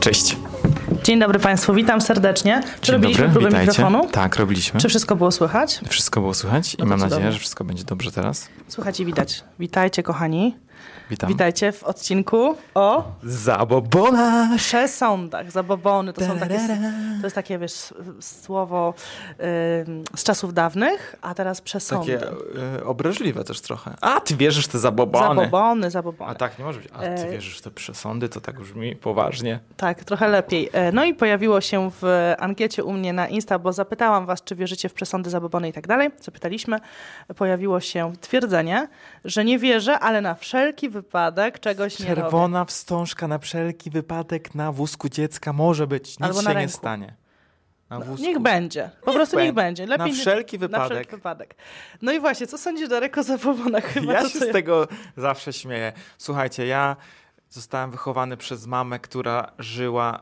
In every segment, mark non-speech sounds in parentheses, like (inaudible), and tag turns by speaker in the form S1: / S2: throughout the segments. S1: Cześć.
S2: Dzień dobry Państwu, witam serdecznie. Czy
S1: Dzień
S2: robiliśmy
S1: dobry,
S2: próbę
S1: witajcie.
S2: mikrofonu?
S1: Tak, robiliśmy.
S2: Czy wszystko było słychać?
S1: Wszystko było słychać i
S2: No to
S1: mam
S2: cudownie.
S1: nadzieję, że wszystko będzie dobrze teraz.
S2: Słychać i widać. Witajcie kochani.
S1: Witam.
S2: Witajcie w odcinku o
S1: Zabobona!
S2: przesądach, zabobony. To, są takie, to jest takie, wiesz, s- słowo ym, z czasów dawnych, a teraz przesądy.
S1: Takie e, obraźliwe też trochę. A, ty wierzysz w te zabobony!
S2: Zabobony,
S1: A
S2: zabobony.
S1: tak nie może być. A ty
S2: E.
S1: wierzysz w te przesądy? To tak brzmi poważnie.
S2: Tak, trochę lepiej. E, No i pojawiło się w e, ankiecie u mnie na Insta, bo zapytałam was, czy wierzycie w przesądy zabobony i tak dalej. Zapytaliśmy. Pojawiło się twierdzenie, że nie wierzę, ale na wszelki wypadek czegoś nie robię.
S1: Czerwona wstążka na wszelki wypadek na wózku dziecka może być. Nic
S2: Albo na
S1: się nie
S2: ręku. No,
S1: stanie. Na wózku.
S2: Niech będzie. Po prostu niech
S1: będzie.
S2: będzie.
S1: Na
S2: Lepiej nie-
S1: wszelki
S2: Na
S1: wypadek.
S2: wszelki wypadek. No i właśnie, co sądzisz Darek o zabobonach? Chyba
S1: ja
S2: to,
S1: się
S2: co
S1: z tego zawsze śmieję. Słuchajcie, ja zostałem wychowany przez mamę, która żyła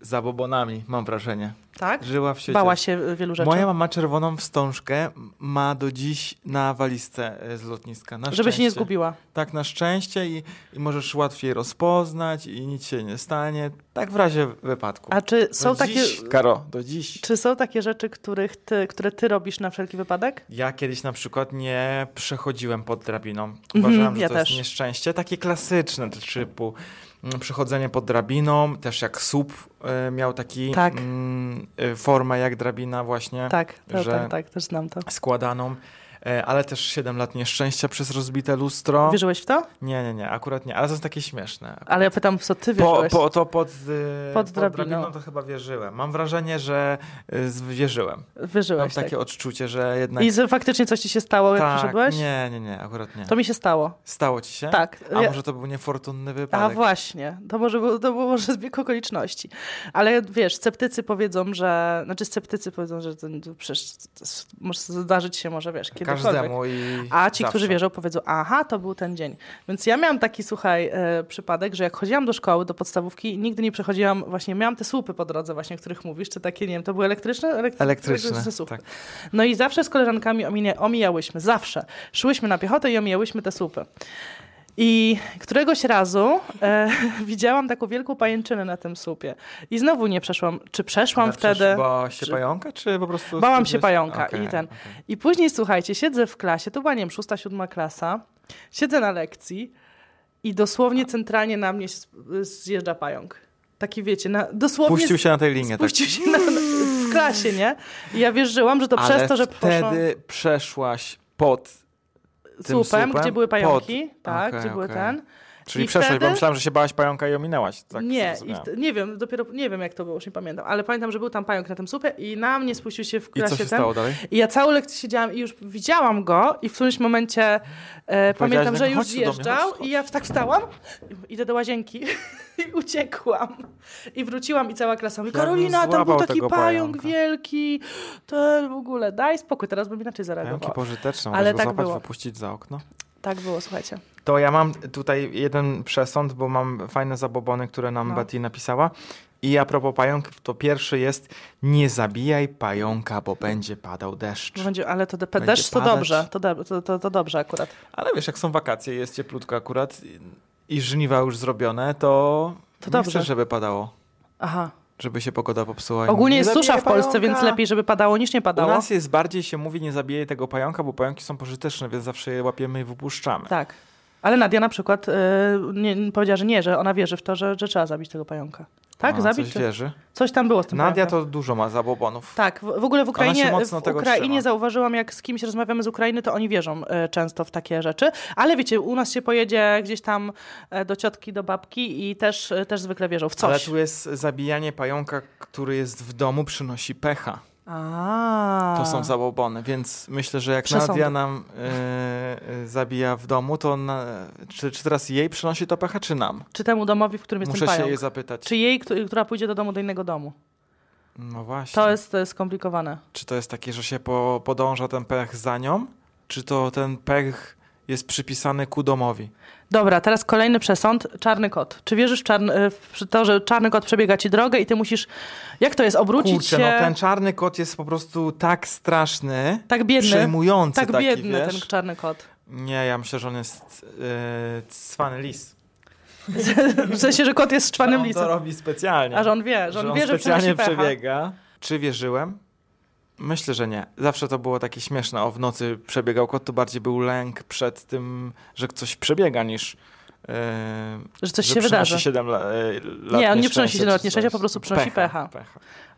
S1: zabobonami, mam wrażenie.
S2: Tak?
S1: Żyła w sieci.
S2: Bała się y, wielu rzeczy.
S1: Moja mama czerwoną wstążkę ma do dziś na walizce e, z lotniska. Na
S2: Żeby się nie
S1: szczęście.
S2: zgubiła.
S1: Tak, na szczęście i, i możesz łatwiej rozpoznać i nic się nie stanie. Tak w razie wypadku.
S2: A czy są
S1: do
S2: takie...
S1: dziś, Karo, do dziś.
S2: Czy są takie rzeczy, których ty, które ty robisz na wszelki wypadek?
S1: Ja kiedyś na przykład nie przechodziłem pod drabiną. Uważałem, że
S2: Mhm, ja
S1: to
S2: też.
S1: jest nieszczęście. Takie klasyczne t- typu mm, przechodzenie pod drabiną, też jak słup y, miał taki
S2: Tak.
S1: mm, y, formę jak drabina właśnie
S2: Tak, to,
S1: że-
S2: tak, tak, też znam to.
S1: składaną. E, Ale też 7 lat nieszczęścia przez rozbite lustro.
S2: Wierzyłeś w to?
S1: Nie, nie, nie, akurat nie, ale to jest takie śmieszne.
S2: Ale ja pytam, w co ty
S1: Po,
S2: wierzyłeś?
S1: po, to pod, y,
S2: Pod drabiną.
S1: to chyba wierzyłem. Mam wrażenie, że y, z- wierzyłem. Mam
S2: Wierzyłeś,
S1: takie
S2: tak.
S1: odczucie, że jednak...
S2: I że faktycznie coś ci się stało, jak
S1: tak,
S2: przyszedłeś?
S1: nie, nie, nie, akurat nie.
S2: To mi się stało.
S1: Stało ci się?
S2: Tak.
S1: A
S2: Ja-
S1: może to był niefortunny
S2: A
S1: wypadek?
S2: właśnie, to może, było- to było może zbieg okoliczności. Ale wiesz, sceptycy powiedzą, że. Znaczy, sceptycy powiedzą, że to, to przecież to s- może zdarzyć się, może wiesz, kiedykolwiek.
S1: Każdemu i
S2: A ci, którzy
S1: zawsze.
S2: wierzą, powiedzą, aha, to był ten dzień. Więc ja miałam taki, słuchaj, e, przypadek, że jak chodziłam do szkoły, do podstawówki, nigdy nie przechodziłam, właśnie miałam te słupy po drodze, właśnie, o których mówisz, czy takie, nie wiem, to były elektryczne? Elektry-
S1: Elektryczne,
S2: słupy.
S1: tak.
S2: No i zawsze z koleżankami ominie- omijałyśmy, zawsze. Szłyśmy na piechotę i omijałyśmy te słupy. I któregoś razu e, (laughs) widziałam taką wielką pajęczynę na tym słupie. I znowu nie przeszłam. Czy przeszłam
S1: Ale przecież
S2: wtedy?
S1: Bała się
S2: czy-
S1: pająka, czy po prostu...
S2: Bałam się
S1: wstydziłeś-
S2: pająka
S1: Okej,
S2: i ten.
S1: okej.
S2: I później, słuchajcie, siedzę w klasie, to była, nie wiem, szósta, siódma klasa, siedzę na lekcji i dosłownie centralnie na mnie się z- zjeżdża pająk. Taki, wiecie, na, dosłownie...
S1: Puścił
S2: z-
S1: się na tej linie, tak.
S2: Puścił się na, na, w klasie, nie? I ja wierzyłam, że to
S1: Ale
S2: przez to, że poszłam
S1: wtedy przeszłaś pod... tym
S2: słupem, gdzie
S1: słupem
S2: były
S1: pod-
S2: pająki, tak,
S1: Okej,
S2: gdzie były
S1: okej.
S2: ten.
S1: Czyli
S2: I
S1: przeszłaś,
S2: wtedy-
S1: bo myślałam, że się bałaś pająka i ominęłaś. Tak
S2: nie, i
S1: zrozumiałem.
S2: wte- nie wiem, dopiero nie wiem jak to było, już nie pamiętam, ale pamiętam, że był tam pająk na tym słupie i na mnie spuścił się w
S1: I
S2: klasie
S1: co się
S2: ten.
S1: stało dalej?
S2: I ja całą lekcję siedziałam i już widziałam go i w którymś momencie e, pamiętam,
S1: mi,
S2: że już
S1: chodź tu do mnie,
S2: zjeżdżał
S1: chodź, chodź.
S2: i ja w- tak wstałam, i- idę do łazienki (laughs) i uciekłam. I wróciłam i cała klasa mówi,
S1: Ja bym
S2: Karolina, tam był
S1: złapał
S2: taki
S1: tego
S2: pająk
S1: pająka."
S2: wielki, ten w ogóle, daj spokój, teraz bym inaczej
S1: Pająki
S2: zareagowała.
S1: pożyteczne,
S2: Ale
S1: możesz
S2: tak
S1: go złapać,
S2: było.
S1: wypuścić za okno.
S2: Tak było, słuchajcie.
S1: To ja mam tutaj jeden przesąd, bo mam fajne zabobony, które nam
S2: No.
S1: Betty napisała. I a propos pająków, to pierwszy jest nie zabijaj pająka, bo będzie padał deszcz.
S2: Bo No, Będzie, ale to dep-
S1: Będzie
S2: deszcz to
S1: padać.
S2: dobrze, to, do, to, to, to dobrze akurat.
S1: Ale wiesz, jak są wakacje, jest cieplutko akurat i- i żniwa już zrobione, to,
S2: To
S1: nie
S2: dobrze.
S1: chcę, żeby padało,
S2: Aha.
S1: żeby się pogoda popsuła. i
S2: Ogólnie
S1: mówię,
S2: jest
S1: "Nie
S2: susza w
S1: zabijaj
S2: Polsce,
S1: pająka".
S2: więc lepiej, żeby padało niż nie
S1: U
S2: padało.
S1: nas jest bardziej się mówi nie zabijaj tego pająka, bo pająki są pożyteczne, więc zawsze je łapiemy i wypuszczamy.
S2: Tak. Ale Nadia na przykład y, nie, powiedziała, że nie, że ona wierzy w to, że, że trzeba zabić tego pająka. Tak?
S1: A,
S2: zabić?
S1: No, coś
S2: czy-
S1: wierzy.
S2: Coś tam było z tym
S1: Nadia
S2: pająkiem.
S1: to dużo ma zabobonów.
S2: Tak, w w ogóle w Ukrainie,
S1: się mocno
S2: w
S1: tego
S2: Ukrainie
S1: trzyma.
S2: zauważyłam, jak z kimś rozmawiamy z Ukrainy, to oni wierzą e, często w takie rzeczy. Ale wiecie, u nas się pojedzie gdzieś tam e, do ciotki, do babki i też, e, też zwykle wierzą w coś.
S1: Ale tu jest zabijanie pająka, który jest w domu, przynosi pecha.
S2: A.
S1: To są zabobony, więc myślę, że jak
S2: Przesądy.
S1: Nadia nam y, y, zabija w domu, to na, czy, czy teraz jej przynosi to pecha, czy nam?
S2: Czy temu domowi, w którym jest
S1: Muszę
S2: ten
S1: się
S2: pająk?
S1: jej zapytać.
S2: Czy jej, któ- która pójdzie do domu, do innego domu?
S1: No właśnie.
S2: To jest, to jest skomplikowane.
S1: Czy to jest takie, że się po, podąża ten pech za nią? Czy to ten pech jest przypisany ku domowi?
S2: Dobra, teraz kolejny przesąd. Czarny kot. Czy wierzysz w, czarny, e, w to, że czarny kot przebiega ci drogę i ty musisz, jak to jest, obrócić
S1: Kurczę,
S2: się?
S1: no ten czarny kot jest po prostu tak straszny,
S2: tak biedny,
S1: przejmujący
S2: tak
S1: taki,
S2: biedny
S1: wiesz?
S2: ten czarny kot.
S1: Nie, ja myślę, że on jest yy, cwany e, lis.
S2: (laughs) W sensie, że kot jest szczwanym
S1: on to
S2: lisem.
S1: robi specjalnie.
S2: A że on wie, że on wie, że
S1: specjalnie
S2: przynosi pecha.
S1: przebiega. Czy wierzyłem? Myślę, że nie. Zawsze to było takie śmieszne. O, w nocy przebiegał kot, to bardziej był lęk przed tym, że coś przebiega niż... Yy,
S2: Że coś
S1: że
S2: się
S1: przynosi
S2: wydarzy.
S1: siedem la, yy, lat
S2: Nie, on nie
S1: nieszczęścia
S2: przynosi
S1: czy
S2: siedem lat
S1: coś.
S2: nieszczęścia, po prostu przynosi pecha.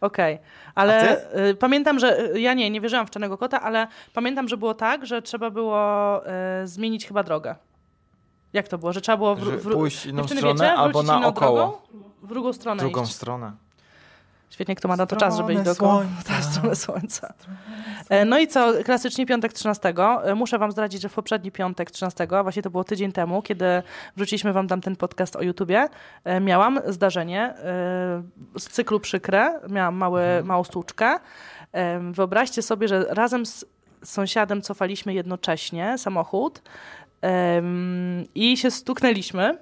S2: Okej,
S1: A
S2: ale y, pamiętam, że y, ja nie, nie wierzyłam w czarnego kota, ale pamiętam, że było tak, że trzeba było y, zmienić chyba drogę. Jak to było? Że trzeba było wr-
S1: Że
S2: wr-
S1: pójść inną
S2: Dziewczyny,
S1: stronę
S2: wiecie?
S1: albo
S2: Wrócić inną
S1: naokoło.
S2: drogą, W drugą stronę
S1: Drugą
S2: iść.
S1: stronę.
S2: Świetnie, kto ma na to czas, żeby iść
S1: Stronę
S2: dookoła.
S1: słońca.
S2: (laughs) Ta strona słońca. E, No i co, klasycznie piątek 13. E, Muszę wam zdradzić, że w poprzedni piątek 13, a właśnie to było tydzień temu, kiedy wrzuciliśmy wam tam ten podcast o YouTubie, e, miałam zdarzenie e, z cyklu przykre, miałam mały, małą stłuczkę. E, Wyobraźcie sobie, że razem z sąsiadem cofaliśmy jednocześnie samochód em, i się stuknęliśmy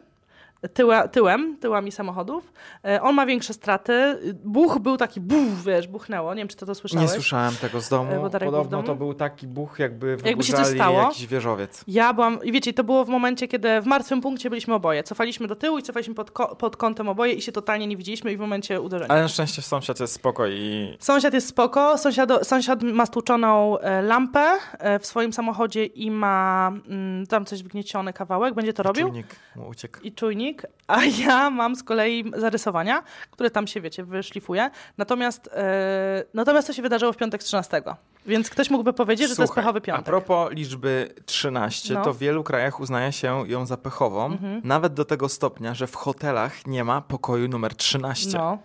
S2: tyła, tyłem, tyłami samochodów. E, On ma większe straty. Buch był taki, buch, wiesz, buchnęło. Nie wiem, czy ty to
S1: Nie
S2: słyszałeś.
S1: słyszałem tego z
S2: E,
S1: domu.
S2: bo Darek był w
S1: Podobno
S2: domu?
S1: to był taki buch, jakby
S2: Jakby się coś
S1: wyburzali
S2: stało?
S1: jakiś wieżowiec.
S2: Ja byłam, i wiecie, to było w momencie, kiedy w martwym punkcie byliśmy oboje. Cofaliśmy do tyłu i cofaliśmy pod, ko- pod kątem oboje i się totalnie nie widzieliśmy i w momencie uderzenia.
S1: Ale na szczęście sąsiad jest spoko i
S2: Sąsiad jest spoko, sąsiad, sąsiad ma stłuczoną e, lampę e, w swoim samochodzie i ma mm, tam coś wgnieciony kawałek, będzie to robił.
S1: czujnik mu uciekł.
S2: i czujnik, a (laughs) ja mam z kolei zarysowania, które tam się, wiecie, wyszlifuje. Natomiast, e, natomiast to się wydarzyło w piątek 13. Więc ktoś mógłby powiedzieć, że to jest
S1: Słuchaj,
S2: pechowy
S1: A
S2: piątek.
S1: propos liczby 13,
S2: No. Mhm.
S1: to w wielu krajach uznaje się ją za pechową, nawet do tego stopnia, że w hotelach nie ma pokoju numer 13.
S2: no,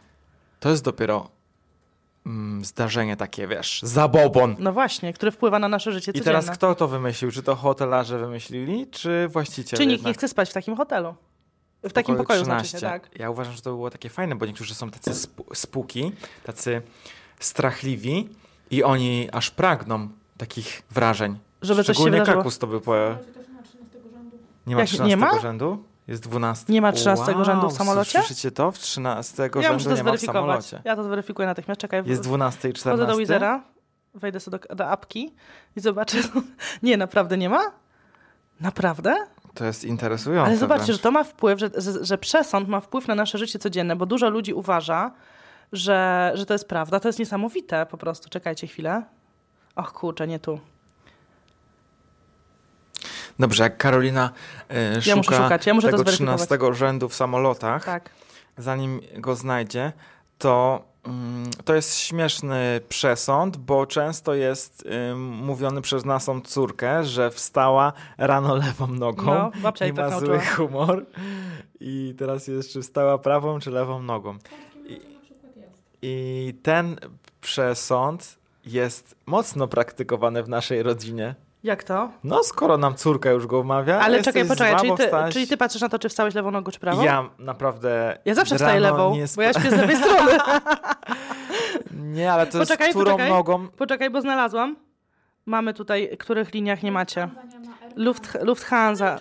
S1: To jest dopiero mm, zdarzenie takie, wiesz, zabobon.
S2: no właśnie, który wpływa na nasze życie
S1: I
S2: codzienne.
S1: teraz kto to wymyślił? Czy to hotelarze wymyślili, czy właściciele?
S2: Czy nikt
S1: jednak?
S2: nie chce spać w takim hotelu? W takim pokoju znaczy się, tak.
S1: Ja uważam, że to było takie fajne, bo niektórzy są tacy sp- spuki, tacy strachliwi i oni aż pragną takich wrażeń.
S2: Żeby coś się
S1: Szczególnie
S2: wydarzyło.
S1: kakus to by po... Nie ma
S2: Jak-
S1: 13
S2: nie ma?
S1: rzędu? Jest 12.
S2: Nie ma 13
S1: wow,
S2: rzędu w samolocie?
S1: Słyszycie to? W 13
S2: Ja muszę
S1: rzędu
S2: to
S1: nie ma w
S2: zweryfikować.
S1: samolocie.
S2: Ja to zweryfikuję natychmiast. Czekaj, w-
S1: Jest 12 i
S2: wchodzę do
S1: 14.
S2: Wizera, wejdę sobie do, do apki i zobaczę. (laughs) nie, naprawdę nie ma? Naprawdę?
S1: To jest interesujące.
S2: Ale zobaczcie,
S1: wręcz.
S2: że to ma wpływ, że, że, że przesąd ma wpływ na nasze życie codzienne, bo dużo ludzi uważa, że, że to jest prawda. To jest niesamowite po prostu. Czekajcie chwilę. Och kurczę, nie tu.
S1: Dobrze, jak Karolina e, szuka
S2: muszę szukać, ja muszę to
S1: tego
S2: zweryfikować.
S1: 13 rzędu w samolotach,
S2: Tak.
S1: zanim go znajdzie, to, mm, to jest śmieszny przesąd, bo często jest ym, mówiony przez naszą córkę, że wstała rano lewą nogą
S2: No, babcia
S1: i
S2: jej tak
S1: ma
S2: nauczyła.
S1: zły humor. I teraz jest, czy wstała prawą, czy lewą nogą. I, I ten przesąd jest mocno praktykowany w naszej rodzinie.
S2: Jak to?
S1: No, skoro nam córka już go omawia,
S2: Ale
S1: jesteś
S2: czekaj, poczekaj,
S1: zła,
S2: czyli
S1: bo
S2: ty,
S1: wstałaś-
S2: czyli ty patrzysz na to, czy wstałeś lewą nogą, czy prawą?
S1: Ja naprawdę.
S2: Ja zawsze wstaję
S1: rano
S2: lewą,
S1: Nie, spa-
S2: bo ja śpię z lewej strony.
S1: (laughs) nie ale to
S2: Poczekaj,
S1: jest którą
S2: poczekaj.
S1: nogą.
S2: Poczekaj, bo znalazłam. Mamy tutaj, których liniach nie macie. Luft, Lufthansa,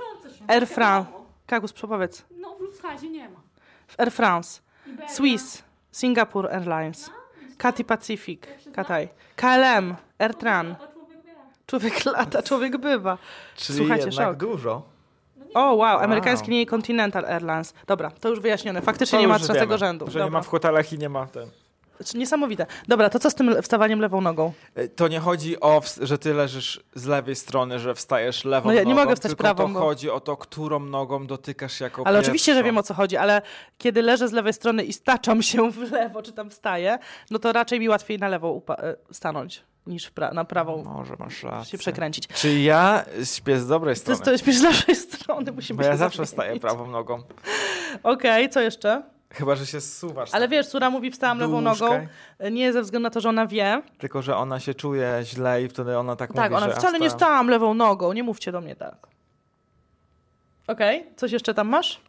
S2: Air France. Kagus, przepowiedz.
S3: No w Lufthansa nie ma.
S2: W Air France.
S3: Iberia.
S2: Swiss, Singapore Airlines, Cathay Pacific, Kataj, KLM, AirTran.
S3: To człowiek wie.
S2: Człowiek lata, człowiek bywa.
S1: Czyli
S2: Słuchajcie,
S1: jednak
S2: szok.
S1: dużo.
S2: O, wow, amerykański nie Continental Airlines. Dobra, to już wyjaśnione. Faktycznie
S1: To
S2: nie ma
S1: już
S2: 13
S1: wiemy,
S2: rzędu.
S1: Że nie ma
S2: Dobra.
S1: w hotelach i nie ma ten.
S2: Znaczy, Niesamowite. Dobra, to co z tym wstawaniem lewą nogą?
S1: E, To nie chodzi o, ws- że ty leżysz z lewej strony, że wstajesz lewą
S2: No ja nie
S1: nogą,
S2: mogę wstać
S1: tylko
S2: prawą,
S1: to
S2: bo-
S1: chodzi o to, którą nogą dotykasz jako
S2: Ale oczywiście, że
S1: pierwszą.
S2: wiem o co chodzi, ale kiedy leżę z lewej strony i staczam się w lewo, czy tam wstaję, no to raczej mi łatwiej na lewą upa- e, stanąć niż pra- na prawą
S1: Może masz
S2: się
S1: rację.
S2: przekręcić.
S1: Czy ja śpię z dobrej
S2: Ty
S1: strony?
S2: stoisz z lewej strony, musimy
S1: Bo ja
S2: się
S1: zawsze wstaję
S2: zamienić.
S1: prawą nogą.
S2: Okej, co jeszcze?
S1: Chyba, że się zsuwasz.
S2: Ale
S1: tak
S2: wiesz, Sura mówi, wstałam
S1: do
S2: lewą
S1: łóżka,
S2: nogą, nie ze względu na to, że ona wie.
S1: tak, Tylko, że ona się czuje źle i wtedy ona tak,
S2: tak,
S1: mówi,
S2: ona
S1: że a
S2: wcale nie
S1: wstałem.
S2: wstałam lewą nogą, nie mówcie do mnie tak. Okej, coś jeszcze tam masz?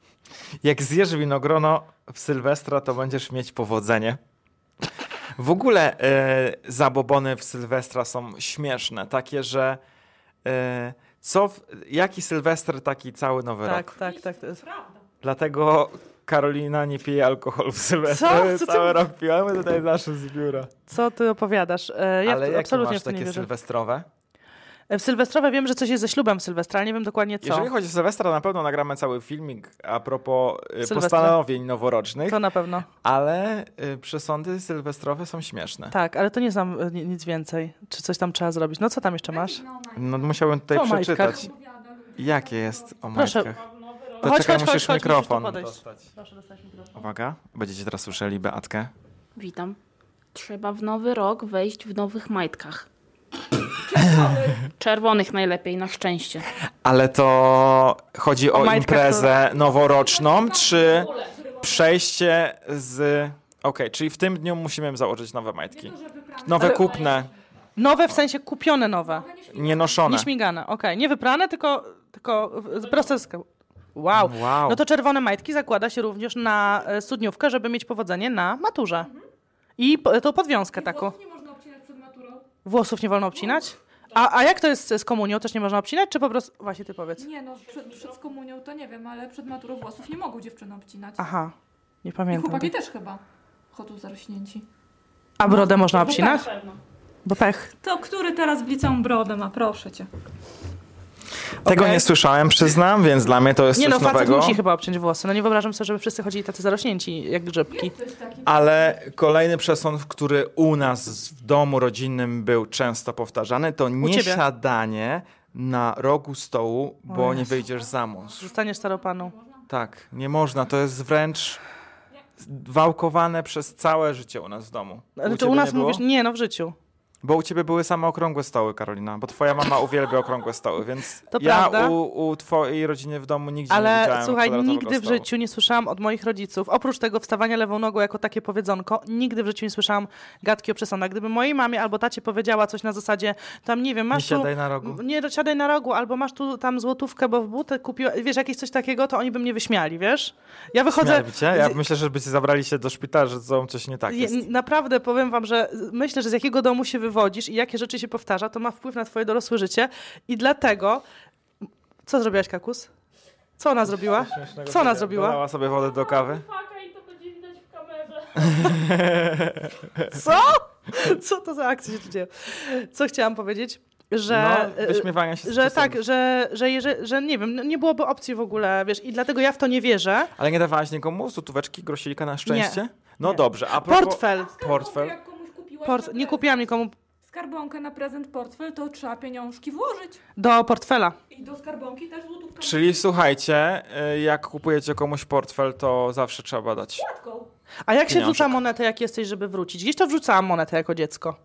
S1: Jak zjesz winogrono w Sylwestra, to będziesz mieć powodzenie. W ogóle e, zabobony w Sylwestra są śmieszne, takie, że e, co w, jaki Sylwester, taki cały nowy rok.
S2: Tak, tak, tak. To jest.
S3: Prawda.
S1: Dlatego Karolina nie pije alkoholu w
S2: Co?
S1: Sylwestra.
S2: Co ty
S1: cały rok pijemy tutaj nasze z biura.
S2: Co ty opowiadasz? E, Ja
S1: Ale
S2: w-
S1: jakie
S2: absolutnie
S1: masz
S2: w to nie
S1: takie
S2: wierzę. E,
S1: sylwestrowe?
S2: W Sylwestrowe wiem, że coś jest ze ślubem Sylwestra, ale nie wiem dokładnie co.
S1: Jeżeli chodzi o Sylwestra, na pewno nagramy cały filmik a propos y,
S2: Sylwestra.
S1: postanowień noworocznych,
S2: To na pewno.
S1: ale y, przesądy sylwestrowe są śmieszne.
S2: Tak, ale to nie znam y, ni- nic więcej. Czy coś tam trzeba zrobić? No co tam jeszcze masz?
S1: No musiałem tutaj
S2: Co o
S1: przeczytać. Jakie jest o
S2: Proszę.
S1: majtkach? To czekaj,
S2: Chodź, chodź, chodź,
S1: musisz
S2: chodź, musisz
S1: mikrofon
S2: tu podejść.
S1: dostać.
S2: Proszę dostać mikrofon.
S1: Uwaga, będziecie teraz słyszeli Beatkę.
S3: Witam. Trzeba w nowy rok wejść w nowych majtkach. Czerwonych najlepiej, na szczęście.
S1: Ale to chodzi o,
S2: O majtkach,
S1: imprezę noworoczną, czy przejście z... Okej, czyli w tym dniu musimy założyć nowe majtki. Nowe
S2: Ale-
S1: kupne,
S2: Nowe w sensie kupione nowe.
S1: nienoszone.
S2: Nieśmigane, okej. Nie wyprane, tylko, tylko y, proste. sk- Wow.
S1: Wow.
S2: No to czerwone majtki zakłada się również na e, studniówkę, żeby mieć powodzenie na maturze. I po- tą podwiązkę taką.
S4: Nie można obcinać przed maturą?
S2: Włosów nie wolno obcinać? A, a jak to jest z komunią? Też nie można obcinać? Czy po prostu... Właśnie ty powiedz.
S4: Nie no, przed, przed komunią to nie wiem, ale przed maturą włosów nie mogą dziewczyny obcinać.
S2: Aha, nie
S4: I
S2: pamiętam.
S4: chłopaki też chyba chodzą zarośnięci.
S2: A brodę można obcinać? Bo pech.
S4: To który teraz w liceum brodę ma, proszę cię.
S1: Tego
S2: Okej.
S1: nie słyszałem, przyznam, więc dla mnie to jest
S2: Nie no,
S1: coś
S2: facet
S1: nowego.
S2: musi chyba obciąć włosy. No nie wyobrażam sobie, żeby wszyscy chodzili tacy zarośnięci jak grzybki.
S1: Ale kolejny przesąd, który u nas w domu rodzinnym był często powtarzany, to nie
S2: ciebie?
S1: siadanie na rogu stołu, bo nie
S2: Jezu.
S1: wyjdziesz za mąż.
S2: Zostaniesz staropaną.
S1: Tak, nie można. To jest wręcz wałkowane przez całe życie u nas w domu.
S2: Ale czy
S1: ciebie
S2: Znaczy, u nas
S1: nie było?
S2: mówisz... Nie no, w życiu.
S1: Bo u ciebie były same okrągłe stoły, Karolina, bo twoja mama uwielbia okrągłe stoły, więc
S2: (laughs) To
S1: ja
S2: prawda.
S1: u, u twojej rodziny w domu nigdzie nie
S2: Ale
S1: widziałem
S2: słuchaj,
S1: kwadratowego
S2: nigdy w
S1: stołu.
S2: życiu nie słyszałam od moich rodziców, oprócz tego wstawania lewą nogą jako takie powiedzonko, nigdy w życiu nie słyszałam gadki o przesądach. Gdyby mojej mamie albo tacie powiedziała coś na zasadzie, tam nie wiem,
S1: Nie
S2: masz
S1: siadaj
S2: tu...
S1: na rogu.
S2: Nie siadaj na rogu, albo masz tu tam złotówkę, bo w butę kupiła, wiesz, jakieś coś takiego, to oni by mnie wyśmiali, wiesz? Ja wychodzę...
S1: Śmialiby cię? Ja myślę, że byście zabrali się do szpitala, że z tobą coś nie tak
S2: Je-
S1: jest.
S2: Naprawdę powiem wam, że z- myślę, że z jakiego domu się wywodzisz i jakie rzeczy się powtarza, to ma wpływ na twoje dorosłe życie i dlatego... Co zrobiłaś, Kakus? Co ona zrobiła? Co ona zrobiła?
S1: Dolała sobie wodę do kawy.
S2: Co? Co to za akcja się tu dzieje? Co chciałam powiedzieć? Że, y, e,
S1: no, wyśmiewania się z
S2: że
S1: przesadów.
S2: tak, że, że, że, że nie wiem, no nie byłoby opcji w ogóle, wiesz, i dlatego ja w to nie wierzę.
S1: Ale nie dawałaś nikomu złotóweczki, grosilka na szczęście? No
S2: Nie.
S1: dobrze, a propos...
S2: Portfel.
S1: Portfel.
S4: Jak komuś kupiłaś na
S2: Port, nie
S4: prezent-
S2: kupiłam nikomu
S4: Skarbonkę na prezent portfel, to trzeba pieniążki włożyć.
S2: do portfela.
S4: I do skarbonki też złotówkę.
S1: Czyli słuchajcie, y, jak kupujecie komuś portfel, to zawsze trzeba dać.
S4: Matką.
S2: A jak się
S1: Pieniążek.
S2: wrzuca monetę, jak jesteś, żeby wrócić? Gdzieś to wrzucałam monetę jako dziecko.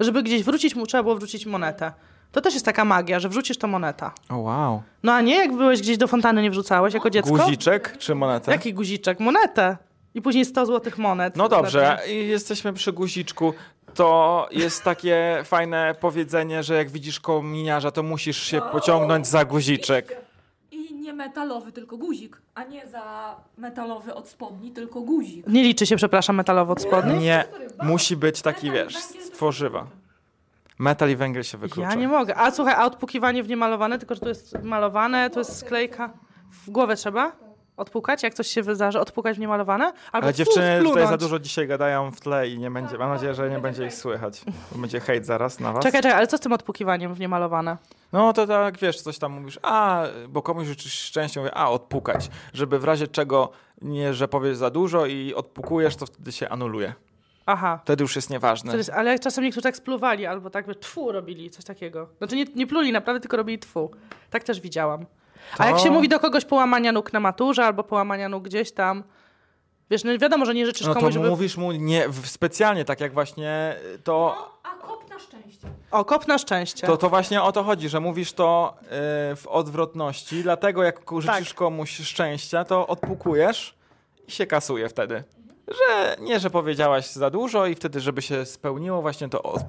S2: Żeby gdzieś wrócić, mu trzeba było wrzucić monetę. To też jest taka magia, że wrzucisz to moneta.
S1: O wow.
S2: No a nie jak byłeś gdzieś do fontanny, nie wrzucałeś jako dziecko?
S1: Guziczek czy monetę?
S2: Jaki guziczek? Monetę. I później 100 złotych monet.
S1: No dobrze, i jesteśmy przy guziczku. To jest takie fajne powiedzenie, że jak widzisz kominiarza, to musisz się pociągnąć za guziczek.
S4: I nie metalowy, tylko guzik. A nie za metalowy od spodni, tylko guzik.
S2: Nie liczy się, przepraszam, metalowo od spodni?
S1: Nie, musi być taki, wiesz, z tworzywa. Metal i węgiel się wyklucza.
S2: Ja nie mogę. A słuchaj, a odpukiwanie w niemalowane, tylko że to jest malowane, to jest sklejka. W głowę trzeba odpukać, jak coś się wydarzy, odpukać w niemalowane? Albo
S1: Ale
S2: fu,
S1: dziewczyny tutaj
S2: splunąć.
S1: za dużo dzisiaj gadają w tle i nie będzie. Mam nadzieję, że nie będzie ich słychać. Bo będzie hejt zaraz na was.
S2: Czekaj, czekaj, ale co z tym odpukiwaniem w niemalowane?
S1: No to tak, wiesz, coś tam mówisz, a, bo komuś życzysz szczęścia, mówię, a, odpukać. Żeby w razie czego, nie, że powiesz za dużo i odpukujesz, to wtedy się anuluje.
S2: Aha.
S1: Wtedy już jest nieważne.
S2: Wtedy- Ale czasem niektórzy tak spluwali, albo tak by tfu robili, coś takiego. Znaczy nie, nie pluli naprawdę, tylko robili tfu. Tak też widziałam.
S1: To-
S2: A jak się mówi do kogoś połamania nóg na maturze, albo połamania nóg gdzieś tam, wiesz, no wiadomo, że nie życzysz
S1: No to
S2: komuś, żeby...
S1: mówisz mu nie, w- specjalnie, tak jak właśnie y, to,
S4: A kop na szczęście.
S2: O, kop na szczęście.
S1: to, to właśnie o to chodzi, że mówisz to y, w odwrotności, dlatego jak ku- życzysz
S2: Tak.
S1: komuś szczęścia, to odpukujesz i się kasuje wtedy. Że nie, że powiedziałaś za dużo i wtedy, żeby się spełniło, właśnie to od,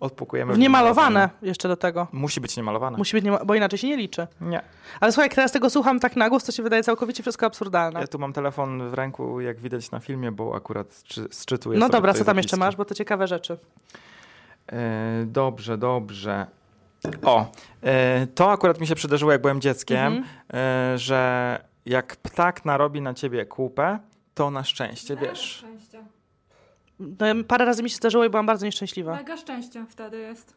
S1: odpukujemy.
S2: W niemalowane jeszcze do tego.
S1: Musi być niemalowane.
S2: Tak. Musi być, niema- bo inaczej się nie liczy.
S1: Nie.
S2: Ale słuchaj, jak teraz tego słucham tak na głos, to się wydaje całkowicie wszystko absurdalne.
S1: Ja tu mam telefon w ręku, jak widać na filmie, bo akurat czy, sczytuję
S2: No
S1: sobie
S2: dobra,
S1: tutaj
S2: co tam jeszcze
S1: zapiski.
S2: masz, bo to ciekawe rzeczy.
S1: E, dobrze, dobrze. O, e, to akurat mi się przydarzyło, jak byłem dzieckiem,
S2: Mhm.
S1: e, że jak ptak narobi na ciebie kupę, to na szczęście, wiesz.
S4: Szczęścia.
S2: No, ja- parę razy mi się zdarzyło i byłam bardzo nieszczęśliwa.
S4: Mega szczęście wtedy jest.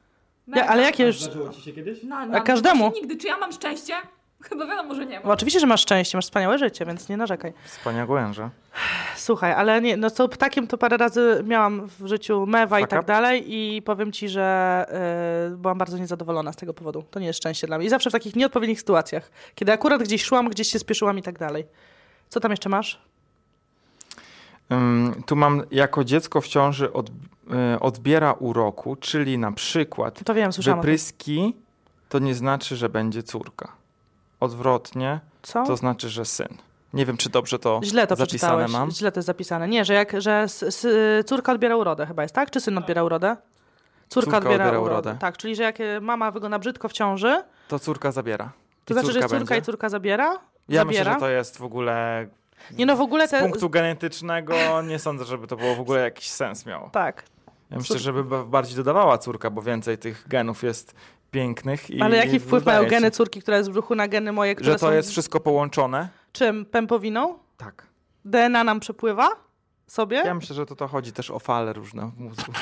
S2: Ja, ale jakie już...
S5: Zdarzyło ci się kiedyś?
S4: Na, na,
S2: każdemu?
S4: właśnie Nigdy. Czy ja mam szczęście? (laughs) Chyba wiadomo, że nie
S2: No,
S4: mam.
S2: oczywiście, że masz szczęście, masz wspaniałe życie, więc nie narzekaj.
S1: Wspaniałęże.
S2: Słuchaj, ale nie, no co ptakiem to parę razy miałam w życiu mewa i
S1: Fuck
S2: tak
S1: up.
S2: dalej i powiem ci, że y, byłam bardzo niezadowolona z tego powodu. To nie jest szczęście dla mnie. I zawsze w takich nieodpowiednich sytuacjach, kiedy akurat gdzieś szłam, gdzieś się spieszyłam i tak dalej. Co tam jeszcze masz?
S1: Ym, Tu mam, jako dziecko w ciąży od, y, odbiera uroku, czyli na przykład
S2: To wiem, słyszałam. o tym.
S1: wypryski to nie znaczy, że będzie córka. Odwrotnie
S2: Co?
S1: to znaczy, że syn. Nie wiem, czy dobrze to,
S2: No. Źle to
S1: zapisane
S2: przeczytałeś.
S1: mam.
S2: Źle to jest zapisane. Nie, że jak, że s, s, córka odbiera urodę chyba jest, tak? Czy syn odbiera urodę? Córka,
S1: Córka
S2: odbiera,
S1: odbiera
S2: urodę.
S1: urodę.
S2: Tak, czyli że jak e, mama wygląda brzydko w ciąży,
S1: To córka zabiera. I
S2: to znaczy, że jest córka
S1: będzie.
S2: i córka zabiera?
S1: Ja
S2: zabiera?
S1: myślę, że to jest w ogóle
S2: Nie no, w ogóle
S1: z
S2: te...
S1: punktu genetycznego nie sądzę, żeby to było w ogóle jakiś sens miało.
S2: Tak,
S1: Ja myślę, żeby ba- bardziej dodawała córka, bo więcej tych genów jest pięknych. I
S2: Ale jaki wpływ
S1: wydaje
S2: mają geny
S1: się,
S2: córki, która jest w brzuchu na geny moje, które
S1: Że to
S2: są
S1: jest wszystko połączone?
S2: czym? Pępowiną?
S1: Tak.
S2: DNA nam przepływa? Sobie?
S1: Ja myślę, że to, to chodzi też o fale różne w mózgu. (laughs)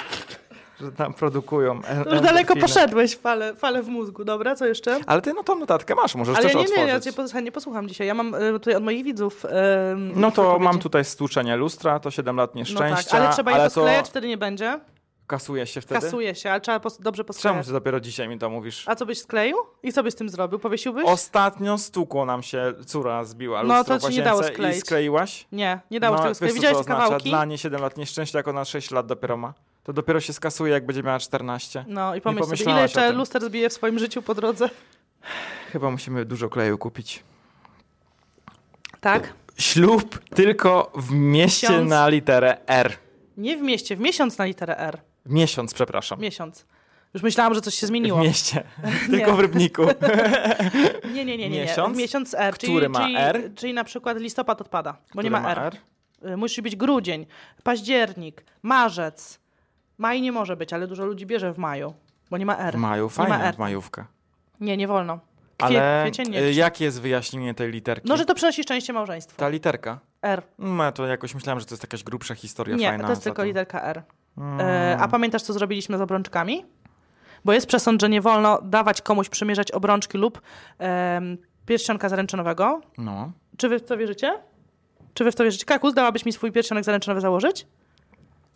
S1: że tam produkują. E-
S2: to już daleko
S1: endorfiny.
S2: poszedłeś, fale, fale w mózgu, dobra, co jeszcze?
S1: Ale ty no tą notatkę masz, możesz
S2: Ale
S1: też
S2: ja nie, nie,
S1: otworzyć.
S2: ja cię posłuchaj, nie posłucham dzisiaj. Ja mam y, tutaj od moich widzów. y,
S1: No
S2: ich
S1: to
S2: wypowiedzi.
S1: mam tutaj stłuczenie lustra, to 7 lat
S2: No tak,
S1: nieszczęścia.
S2: ale trzeba je
S1: ale to
S2: posklejać, wtedy nie będzie.
S1: kasuje się wtedy.
S2: Kasuje się, ale trzeba pos dobrze
S1: Czemu
S2: posklejać.
S1: ty dopiero dzisiaj mi to mówisz?
S2: A co byś skleił? I co byś z tym zrobił? Powiesiłbyś?
S1: Ostatnio stukło nam się, córa zbiła
S2: No,
S1: lustro
S2: to
S1: w
S2: ci nie
S1: łazience
S2: dało
S1: i
S2: skleić.
S1: skleiłaś?
S2: nie, nie dało się tego
S1: No, wiesz, co
S2: skleić.
S1: to
S2: Widziałeś te
S1: oznacza?
S2: kawałki?
S1: Dla niej 7 lat nieszczęścia, jak ona 6 lat dopiero ma. To dopiero się skasuje, jak będzie miała 14.
S2: No i pomyśl sobie, ile
S1: pomyślałaś o
S2: jeszcze
S1: tym.
S2: luster zbije w swoim życiu po drodze.
S1: Chyba musimy dużo kleju kupić.
S2: Tak?
S1: Ślub tylko w mieście
S2: Miesiąc.
S1: na literę R.
S2: Nie w mieście, w miesiąc na literę R.
S1: Miesiąc, przepraszam.
S2: Miesiąc. Już myślałam, że coś się zmieniło.
S1: W mieście.
S2: (laughs)
S1: tylko w Rybniku.
S2: nie, nie, nie, nie.
S1: Miesiąc?
S2: Miesiąc, miesiąc R.
S1: Który
S2: czyli,
S1: ma
S2: czyli,
S1: R?
S2: Czyli na przykład listopad odpada, (laughs) bo nie
S1: Który
S2: ma R. Y, Musi być grudzień, październik, marzec. Maj nie może być, ale dużo ludzi bierze w maju, bo nie ma R.
S1: W maju,
S2: nie
S1: fajna
S2: ma R.
S1: majówka.
S2: Nie, nie wolno. Kwie,
S1: Ale
S2: Kwiecień
S1: y,
S2: nie.
S1: jakie jest wyjaśnienie tej literki?
S2: No, że to przynosi szczęście małżeństwu.
S1: Ta literka?
S2: R.
S1: No, to jakoś myślałem, że to jest jakaś grubsza historia
S2: Nie,
S1: fajna. Mm.
S2: to jest
S1: za
S2: tylko literka R. E, a pamiętasz, co zrobiliśmy z obrączkami? Bo jest przesąd, że nie wolno dawać komuś przymierzać obrączki lub em, pierścionka zaręczynowego,
S1: No.
S2: Czy wy w to wierzycie? Czy wy w to wierzycie? Kakus, dałabyś mi swój pierścionek zaręczynowy założyć?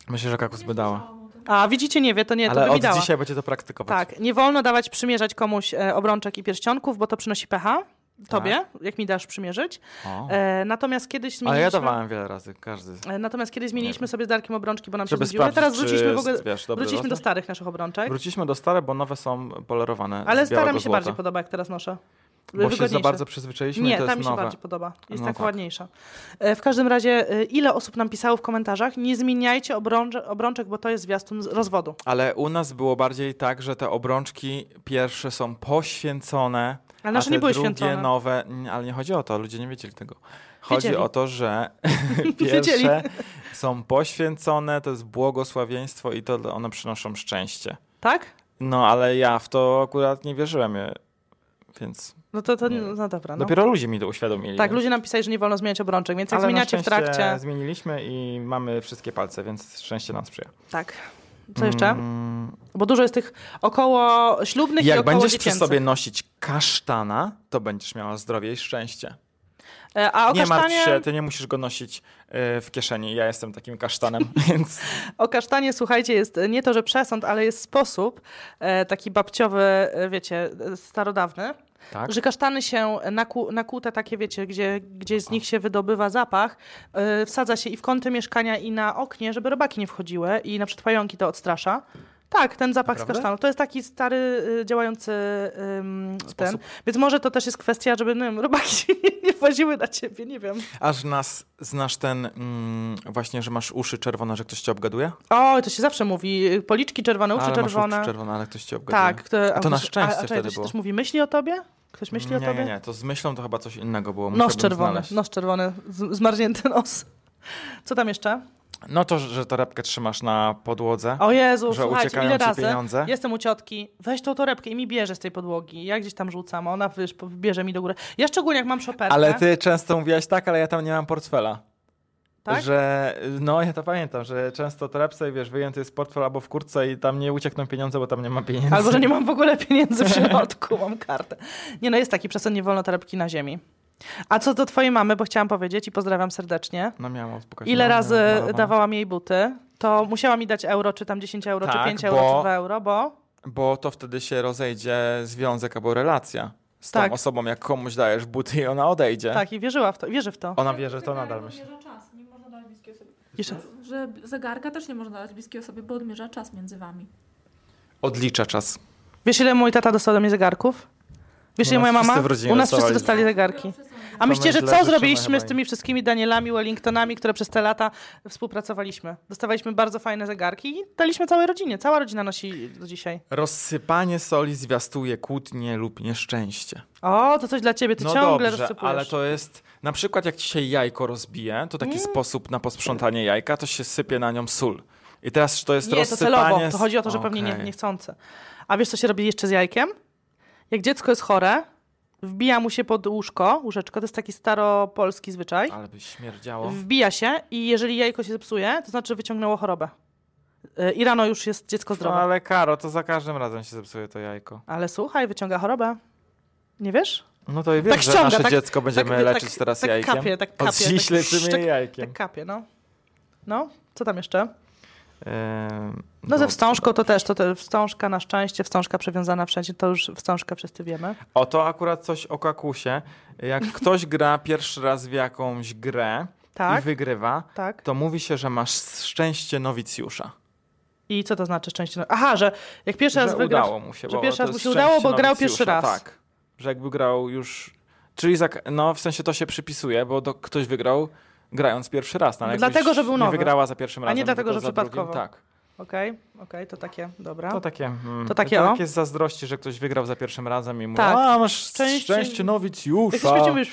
S1: Myślę, że kakus by dała.
S2: A widzicie, nie wie, to nie, to
S1: Ale
S2: by mi
S1: od
S2: dała.
S1: dzisiaj będzie to praktykować.
S2: Tak, nie wolno dawać przymierzać komuś e, obrączek i pierścionków, bo to przynosi pecha. Tobie, jak mi dasz przymierzyć.
S1: Tak. O.
S2: E, natomiast kiedyś zmieniliśmy...
S1: Ale ja dawałem wiele razy, każdy.
S2: e, Natomiast kiedy
S1: Nie
S2: zmieniliśmy sobie z Darkiem obrączki, bo nam
S1: Żeby
S2: się znudziły.
S1: sprawdzić,
S2: Teraz
S1: czy
S2: wróciliśmy w ogóle
S1: jest, wiesz, dobry
S2: wróciliśmy do
S1: rozmiar.
S2: starych naszych obrączek,
S1: Wróciliśmy do stare, bo nowe są polerowane.
S2: ale
S1: z
S2: stara
S1: białego
S2: mi się
S1: złota.
S2: bardziej podoba, jak teraz noszę.
S1: Bo się za
S2: Wygodniejsze.
S1: bardzo przyzwyczailiśmy i
S2: Nie,
S1: to
S2: ta
S1: jest
S2: mi się
S1: nowe.
S2: bardziej podoba. Jest
S1: No
S2: taka
S1: tak.
S2: ładniejsza. E, W każdym razie, e, ile osób nam pisało w komentarzach, nie zmieniajcie obrącze, obrączek, bo to jest zwiastun z-
S1: (laughs)
S2: rozwodu. (laughs)
S1: Ale u nas było bardziej tak, że te obrączki pierwsze są poświęcone,
S2: Ale nasze
S1: a te
S2: nie były
S1: drugie
S2: święcone.
S1: nowe, n- ale nie chodzi o to, ludzie nie wiedzieli tego. Chodzi
S2: Wiedzieli.
S1: o to, że
S2: Wiedzieli.
S1: pierwsze są poświęcone, to jest błogosławieństwo i to one przynoszą szczęście.
S2: Tak?
S1: No, ale ja w to akurat nie wierzyłem, e, więc
S2: No to, to
S1: Nie.
S2: no dobra. No.
S1: dopiero ludzie mi to uświadomili.
S2: Tak,
S1: więc-
S2: ludzie nam pisali, że nie wolno zmieniać obrączek, więc jak
S1: Ale na
S2: zmieniacie w
S1: szczęście
S2: trakcie...
S1: Zmieniliśmy i mamy wszystkie palce, więc szczęście nam sprzyja.
S2: Tak. Co jeszcze? Bo dużo jest tych około ślubnych i
S1: Mm. Jak
S2: około
S1: będziesz przy
S2: dziecięcych.
S1: sobie nosić kasztana, to będziesz miała zdrowie i szczęście.
S2: E, A o
S1: nie martw
S2: kasztanie,
S1: się, ty nie musisz go nosić e, w kieszeni. Ja jestem takim kasztanem, (laughs) więc
S2: o kasztanie, słuchajcie, jest e, nie to, że przesąd, ale jest sposób e, taki babciowy, e, wiecie, e, starodawny,
S1: tak.
S2: Że kasztany się naku, nakute takie, wiecie, gdzie, gdzie z nich się wydobywa zapach, yy, wsadza się i w kąty mieszkania i na oknie, żeby robaki nie wchodziły i na przykład pająki to odstrasza. Tak, ten zapach
S1: Naprawdę?
S2: z kasztanu. To jest taki stary, y, działający ym, ten. Więc może to też jest kwestia, żeby nie wiem, robaki (laughs) się nie, nie właziły na ciebie, nie wiem.
S1: Aż nas znasz ten mm, właśnie, że masz uszy czerwone, że ktoś cię obgaduje?
S2: O, to się zawsze mówi. y, Policzki czerwone, uszy
S1: ale
S2: czerwone.
S1: Masz uszy czerwone, ale ktoś cię obgaduje.
S2: tak.
S1: A to na
S2: a-
S1: szczęście
S2: a, czekaj,
S1: wtedy
S2: to się
S1: było.
S2: też mówi, myśli o tobie? Ktoś myśli o
S1: nie,
S2: tobie?
S1: nie, nie, to z myślą to chyba coś innego było.
S2: Nos
S1: Musiałbym
S2: czerwony,
S1: znaleźć.
S2: nos czerwony, z- zmarznięty nos. Co tam jeszcze?
S1: No to, że torebkę trzymasz na podłodze.
S2: O Jezu,
S1: Że
S2: słuchajcie,
S1: uciekają
S2: ile
S1: ci
S2: razy
S1: pieniądze?
S2: jestem u ciotki, weź tą torebkę i mi bierze z tej podłogi. Ja gdzieś tam rzucam, a ona wyż, bierze mi do góry. Ja szczególnie jak mam szoperkę.
S1: Ale ty często mówiłaś tak, ale ja tam nie mam portfela.
S2: Tak?
S1: Że, no ja to pamiętam, że często torebce, wiesz, wyjęty jest portfel albo w kurtce i tam nie uciekną pieniądze, bo tam nie ma pieniędzy.
S2: Albo, że nie mam w ogóle pieniędzy w środku, mam kartę. Nie no, jest taki przesąd, nie wolno torebki na ziemi. A co do twojej mamy, bo chciałam powiedzieć i pozdrawiam serdecznie.
S1: No miałam spokojnie.
S2: Ile
S1: no,
S2: razy
S1: no, no,
S2: dawałam jej buty, to musiała mi dać euro, czy tam 10 euro,
S1: Tak,
S2: czy 5 euro,
S1: bo-
S2: czy 2 euro, bo...
S1: Bo to wtedy się rozejdzie związek albo relacja z tą
S2: Tak.
S1: osobą, jak komuś dajesz buty i ona odejdzie.
S2: Tak, i wierzyła w to, wierzy w to.
S1: Ona wie, że to nadal myśli.
S4: Odmierza czas, nie można dać bliskiej osobie.
S2: Jeszcze.
S4: Że zegarka też nie można dać bliskiej osobie, bo odmierza czas między wami.
S1: Odlicza czas.
S2: Wiesz, ile mój tata dostał do mnie zegarków? Wiesz,
S1: U
S2: ile
S1: nas
S2: moja
S1: wszyscy
S2: mama?
S1: w rodzinie
S2: U nas wszyscy
S1: dostawali.
S2: dostali zegarki. A
S1: To
S2: myślicie, że
S1: myślę, że
S2: co
S1: trzeba
S2: zrobiliśmy
S1: chyba
S2: z tymi wszystkimi Danielami, Wellingtonami, które przez te lata współpracowaliśmy? Dostawaliśmy bardzo fajne zegarki i daliśmy całej rodzinie. Cała rodzina nosi do dzisiaj.
S1: Rozsypanie soli zwiastuje kłótnie lub nieszczęście.
S2: O, to coś dla ciebie, ty
S1: no
S2: ciągle
S1: dobrze,
S2: rozsypujesz.
S1: ale to jest... Na przykład jak dzisiaj jajko rozbije, to
S2: Mm.
S1: taki sposób na posprzątanie jajka, to się sypie na nią sól. I teraz to jest
S2: nie, to
S1: rozsypanie...
S2: celowo.
S1: s-
S2: To chodzi o to, że pewnie nie,
S1: Okej.
S2: niechcące. A wiesz, co się robi jeszcze z jajkiem? Jak dziecko jest chore, wbija mu się pod łóżko, łóżeczko, to jest taki staropolski zwyczaj.
S1: Ale by śmierdziało. No,
S2: Wbija się i jeżeli jajko się zepsuje, to znaczy że wyciągnęło chorobę. Yy, I rano już jest dziecko
S1: No,
S2: zdrowe. ale...
S1: ale Karo, to za każdym razem się zepsuje to jajko.
S2: słuchaj, wyciąga chorobę. Nie wiesz?
S1: No to i wiesz, że
S2: ściąga,
S1: nasze
S2: tak-
S1: dziecko będziemy
S2: tak-
S1: leczyć
S2: tak-
S1: teraz
S2: tak
S1: jajkiem.
S2: kapie, tak
S1: Od
S2: kapie,
S1: dziś
S2: tak
S1: leczymy
S2: szczek-
S1: je jajkiem.
S2: Tak kapie, no. No, co tam jeszcze?
S1: Ehm,
S2: No ze
S1: do-
S2: wstążką to też, to, te wstążka na szczęście, wstążka przewiązana wszędzie, to już wstążka wszyscy wiemy.
S1: O, to akurat coś o kakusie. Jak ktoś gra pierwszy raz w jakąś grę i
S2: Tak,
S1: wygrywa,
S2: tak.
S1: to mówi się, że masz szczęście nowicjusza.
S2: I co to znaczy szczęście? Aha, że jak pierwszy raz
S1: że
S2: wygrasz...
S1: udało mu się.
S2: że
S1: bo
S2: pierwszy
S1: to
S2: raz
S1: jest
S2: mu się udało,
S1: szczęście
S2: bo grał pierwszy
S1: nowicjusza,
S2: raz.
S1: Tak, że jakby grał już... Czyli za, no, w sensie to się przypisuje, bo do, ktoś wygrał grając pierwszy raz. No, ale
S2: Dlatego,
S1: jakbyś
S2: że był
S1: Nie
S2: nowy.
S1: wygrała za pierwszym
S2: A
S1: razem,
S2: nie dlatego,
S1: tylko
S2: że
S1: za drugim,
S2: przypadkowo.
S1: Tak.
S2: Okej, okej, to takie, dobra.
S1: To takie, mm,
S2: To takie,
S1: to
S2: o.
S1: takie z zazdrości, że ktoś wygrał za pierwszym razem i mówi,
S2: Tak.
S1: a masz szczęście,
S2: Szczęście-
S1: szczęście
S2: Jak
S1: nowicjusza.
S2: ktoś będzie już...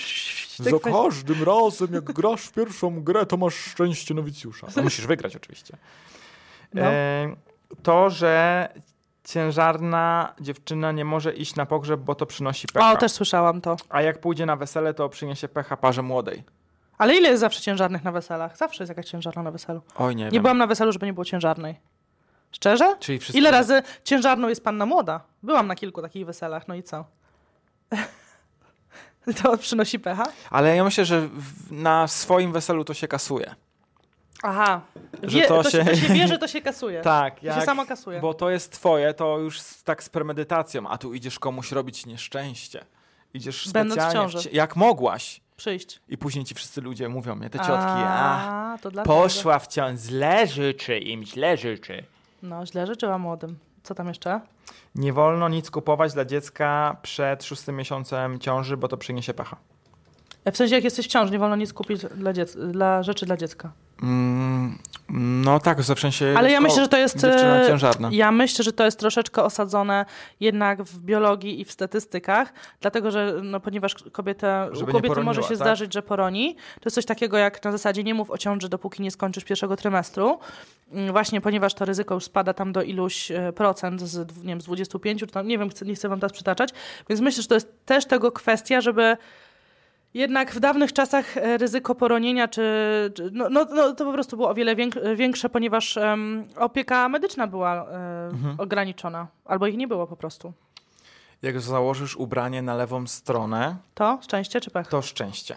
S1: Za każdym razem, jak grasz w pierwszą grę, to masz szczęście nowicjusza. No, musisz wygrać oczywiście.
S2: No.
S1: E, to, że ciężarna dziewczyna nie może iść na pogrzeb, bo to przynosi pecha.
S2: O, też słyszałam to.
S1: A jak pójdzie na wesele, to przyniesie pecha parze młodej.
S2: Ale ile jest zawsze ciężarnych na weselach? Zawsze jest jakaś ciężarna na weselu.
S1: Oj, nie,
S2: Nie,
S1: wiem.
S2: byłam na weselu, żeby nie było ciężarnej. Szczerze?
S1: Czyli wszystko...
S2: Ile razy ciężarną jest panna młoda? Byłam na kilku takich weselach, no i co? (laughs) to przynosi pecha?
S1: Ale ja myślę, że w, na swoim weselu to się kasuje.
S2: Aha.
S1: Że
S2: Wie,
S1: to
S2: to,
S1: się-
S2: się... to się
S1: (laughs)
S2: wie, że to się kasuje.
S1: Tak,
S2: To się samo kasuje.
S1: Bo to jest twoje, to już z, tak z premedytacją, a tu idziesz komuś robić nieszczęście. Idziesz
S2: Będąc w
S1: specjalnie, w
S2: ciąży.
S1: ci- jak mogłaś.
S2: Przyjść.
S1: I później ci wszyscy ludzie mówią, nie, te ciotki, a, no tak,
S2: A, to dlatego.
S1: poszła w ciąż, źle życzy im, źle życzy.
S2: No, źle życzyła młodym. Co tam jeszcze?
S1: Nie wolno nic kupować dla dziecka przed szóstym miesiącem ciąży, bo to przyniesie pecha.
S2: E, W sensie, jak jesteś w ciąży, nie wolno nic kupić dla, dziec- dla rzeczy dla dziecka.
S1: Mm, no tak, w sensie...
S2: Ale ja
S1: o,
S2: myślę, że to jest.
S1: Dziewczyna
S2: e,
S1: ciężarna.
S2: Ja myślę, że to jest troszeczkę osadzone jednak w biologii i w statystykach, dlatego że no, ponieważ kobieta,
S1: Żeby nie
S2: u kobiety może
S1: poroniła,
S2: się
S1: tak?
S2: zdarzyć, że poroni, to jest coś takiego jak na zasadzie nie mów o ciąży, dopóki nie skończysz pierwszego trymestru. Mm, Właśnie ponieważ to ryzyko już spada tam do iluś e, procent, z, dw- nie wiem, z 25, czy tam, nie wiem, chcę- nie chcę wam teraz przytaczać, więc myślę, że to jest też tego kwestia, żeby jednak w dawnych czasach e, ryzyko poronienia, czy, czy no, no, no, to po prostu było o wiele więk- większe, ponieważ em, opieka medyczna była e,
S1: Mhm.
S2: ograniczona, albo ich nie było po prostu.
S1: Jak założysz ubranie na lewą stronę,
S2: To szczęście czy pech?
S1: to szczęście.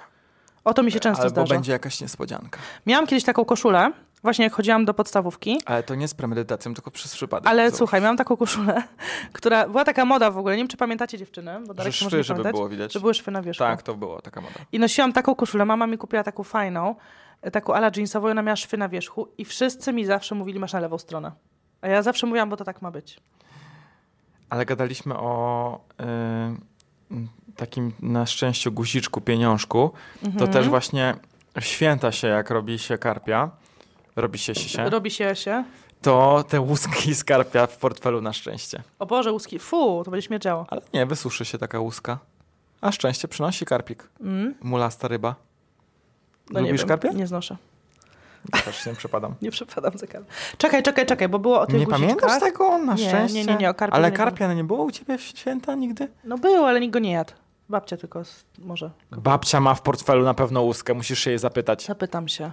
S2: O to mi się często
S1: E, Albo
S2: zdarza.
S1: będzie jakaś niespodzianka.
S2: Miałam kiedyś taką koszulę, właśnie jak chodziłam do podstawówki,
S1: Ale to nie z premedytacją, tylko przez przypadek.
S2: ale
S1: Zobacz.
S2: słuchaj, miałam taką koszulę, (laughs) która była taka moda w ogóle, nie wiem czy pamiętacie dziewczyny, bo
S1: Że
S2: Darek może
S1: szwy,
S2: nie
S1: żeby
S2: pamiętać,
S1: było widać.
S2: że były szwy na wierzchu.
S1: Tak, to było taka moda.
S2: I nosiłam taką koszulę. Mama mi kupiła taką fajną, e, taką ala jeansową, i ona miała szwy na wierzchu i wszyscy mi zawsze mówili, masz na lewą stronę. A ja zawsze mówiłam, bo to tak ma być.
S1: Ale gadaliśmy o y, takim na szczęściu guziczku, pieniążku. To
S2: Mhm.
S1: też właśnie w święta się, jak robi się karpia, robi się się,
S2: Robi się się.
S1: to te łuski z karpia w portfelu na szczęście.
S2: O Boże, łuski. Fu, to będzie śmierdziało.
S1: Ale nie, wysuszy się taka łuska. A szczęście przynosi karpik.
S2: Mm,
S1: Mulasta ryba.
S2: no nie
S1: Lubisz
S2: wiem.
S1: karpia?
S2: Nie znoszę.
S1: Też nie przepadam.
S2: Nie przepadam za karpia. Czekaj, czekaj, czekaj, bo było o tych
S1: Nie
S2: guziczkach.
S1: pamiętasz tego? Na
S2: Nie,
S1: szczęście.
S2: nie, nie, nie, o karpie
S1: Ale
S2: nie
S1: karpia no nie było u ciebie w święta nigdy?
S2: No było, ale nikt go nie jadł. Babcia tylko z... może.
S1: Babcia ma w portfelu na pewno łuskę, musisz się jej zapytać.
S2: Zapytam się.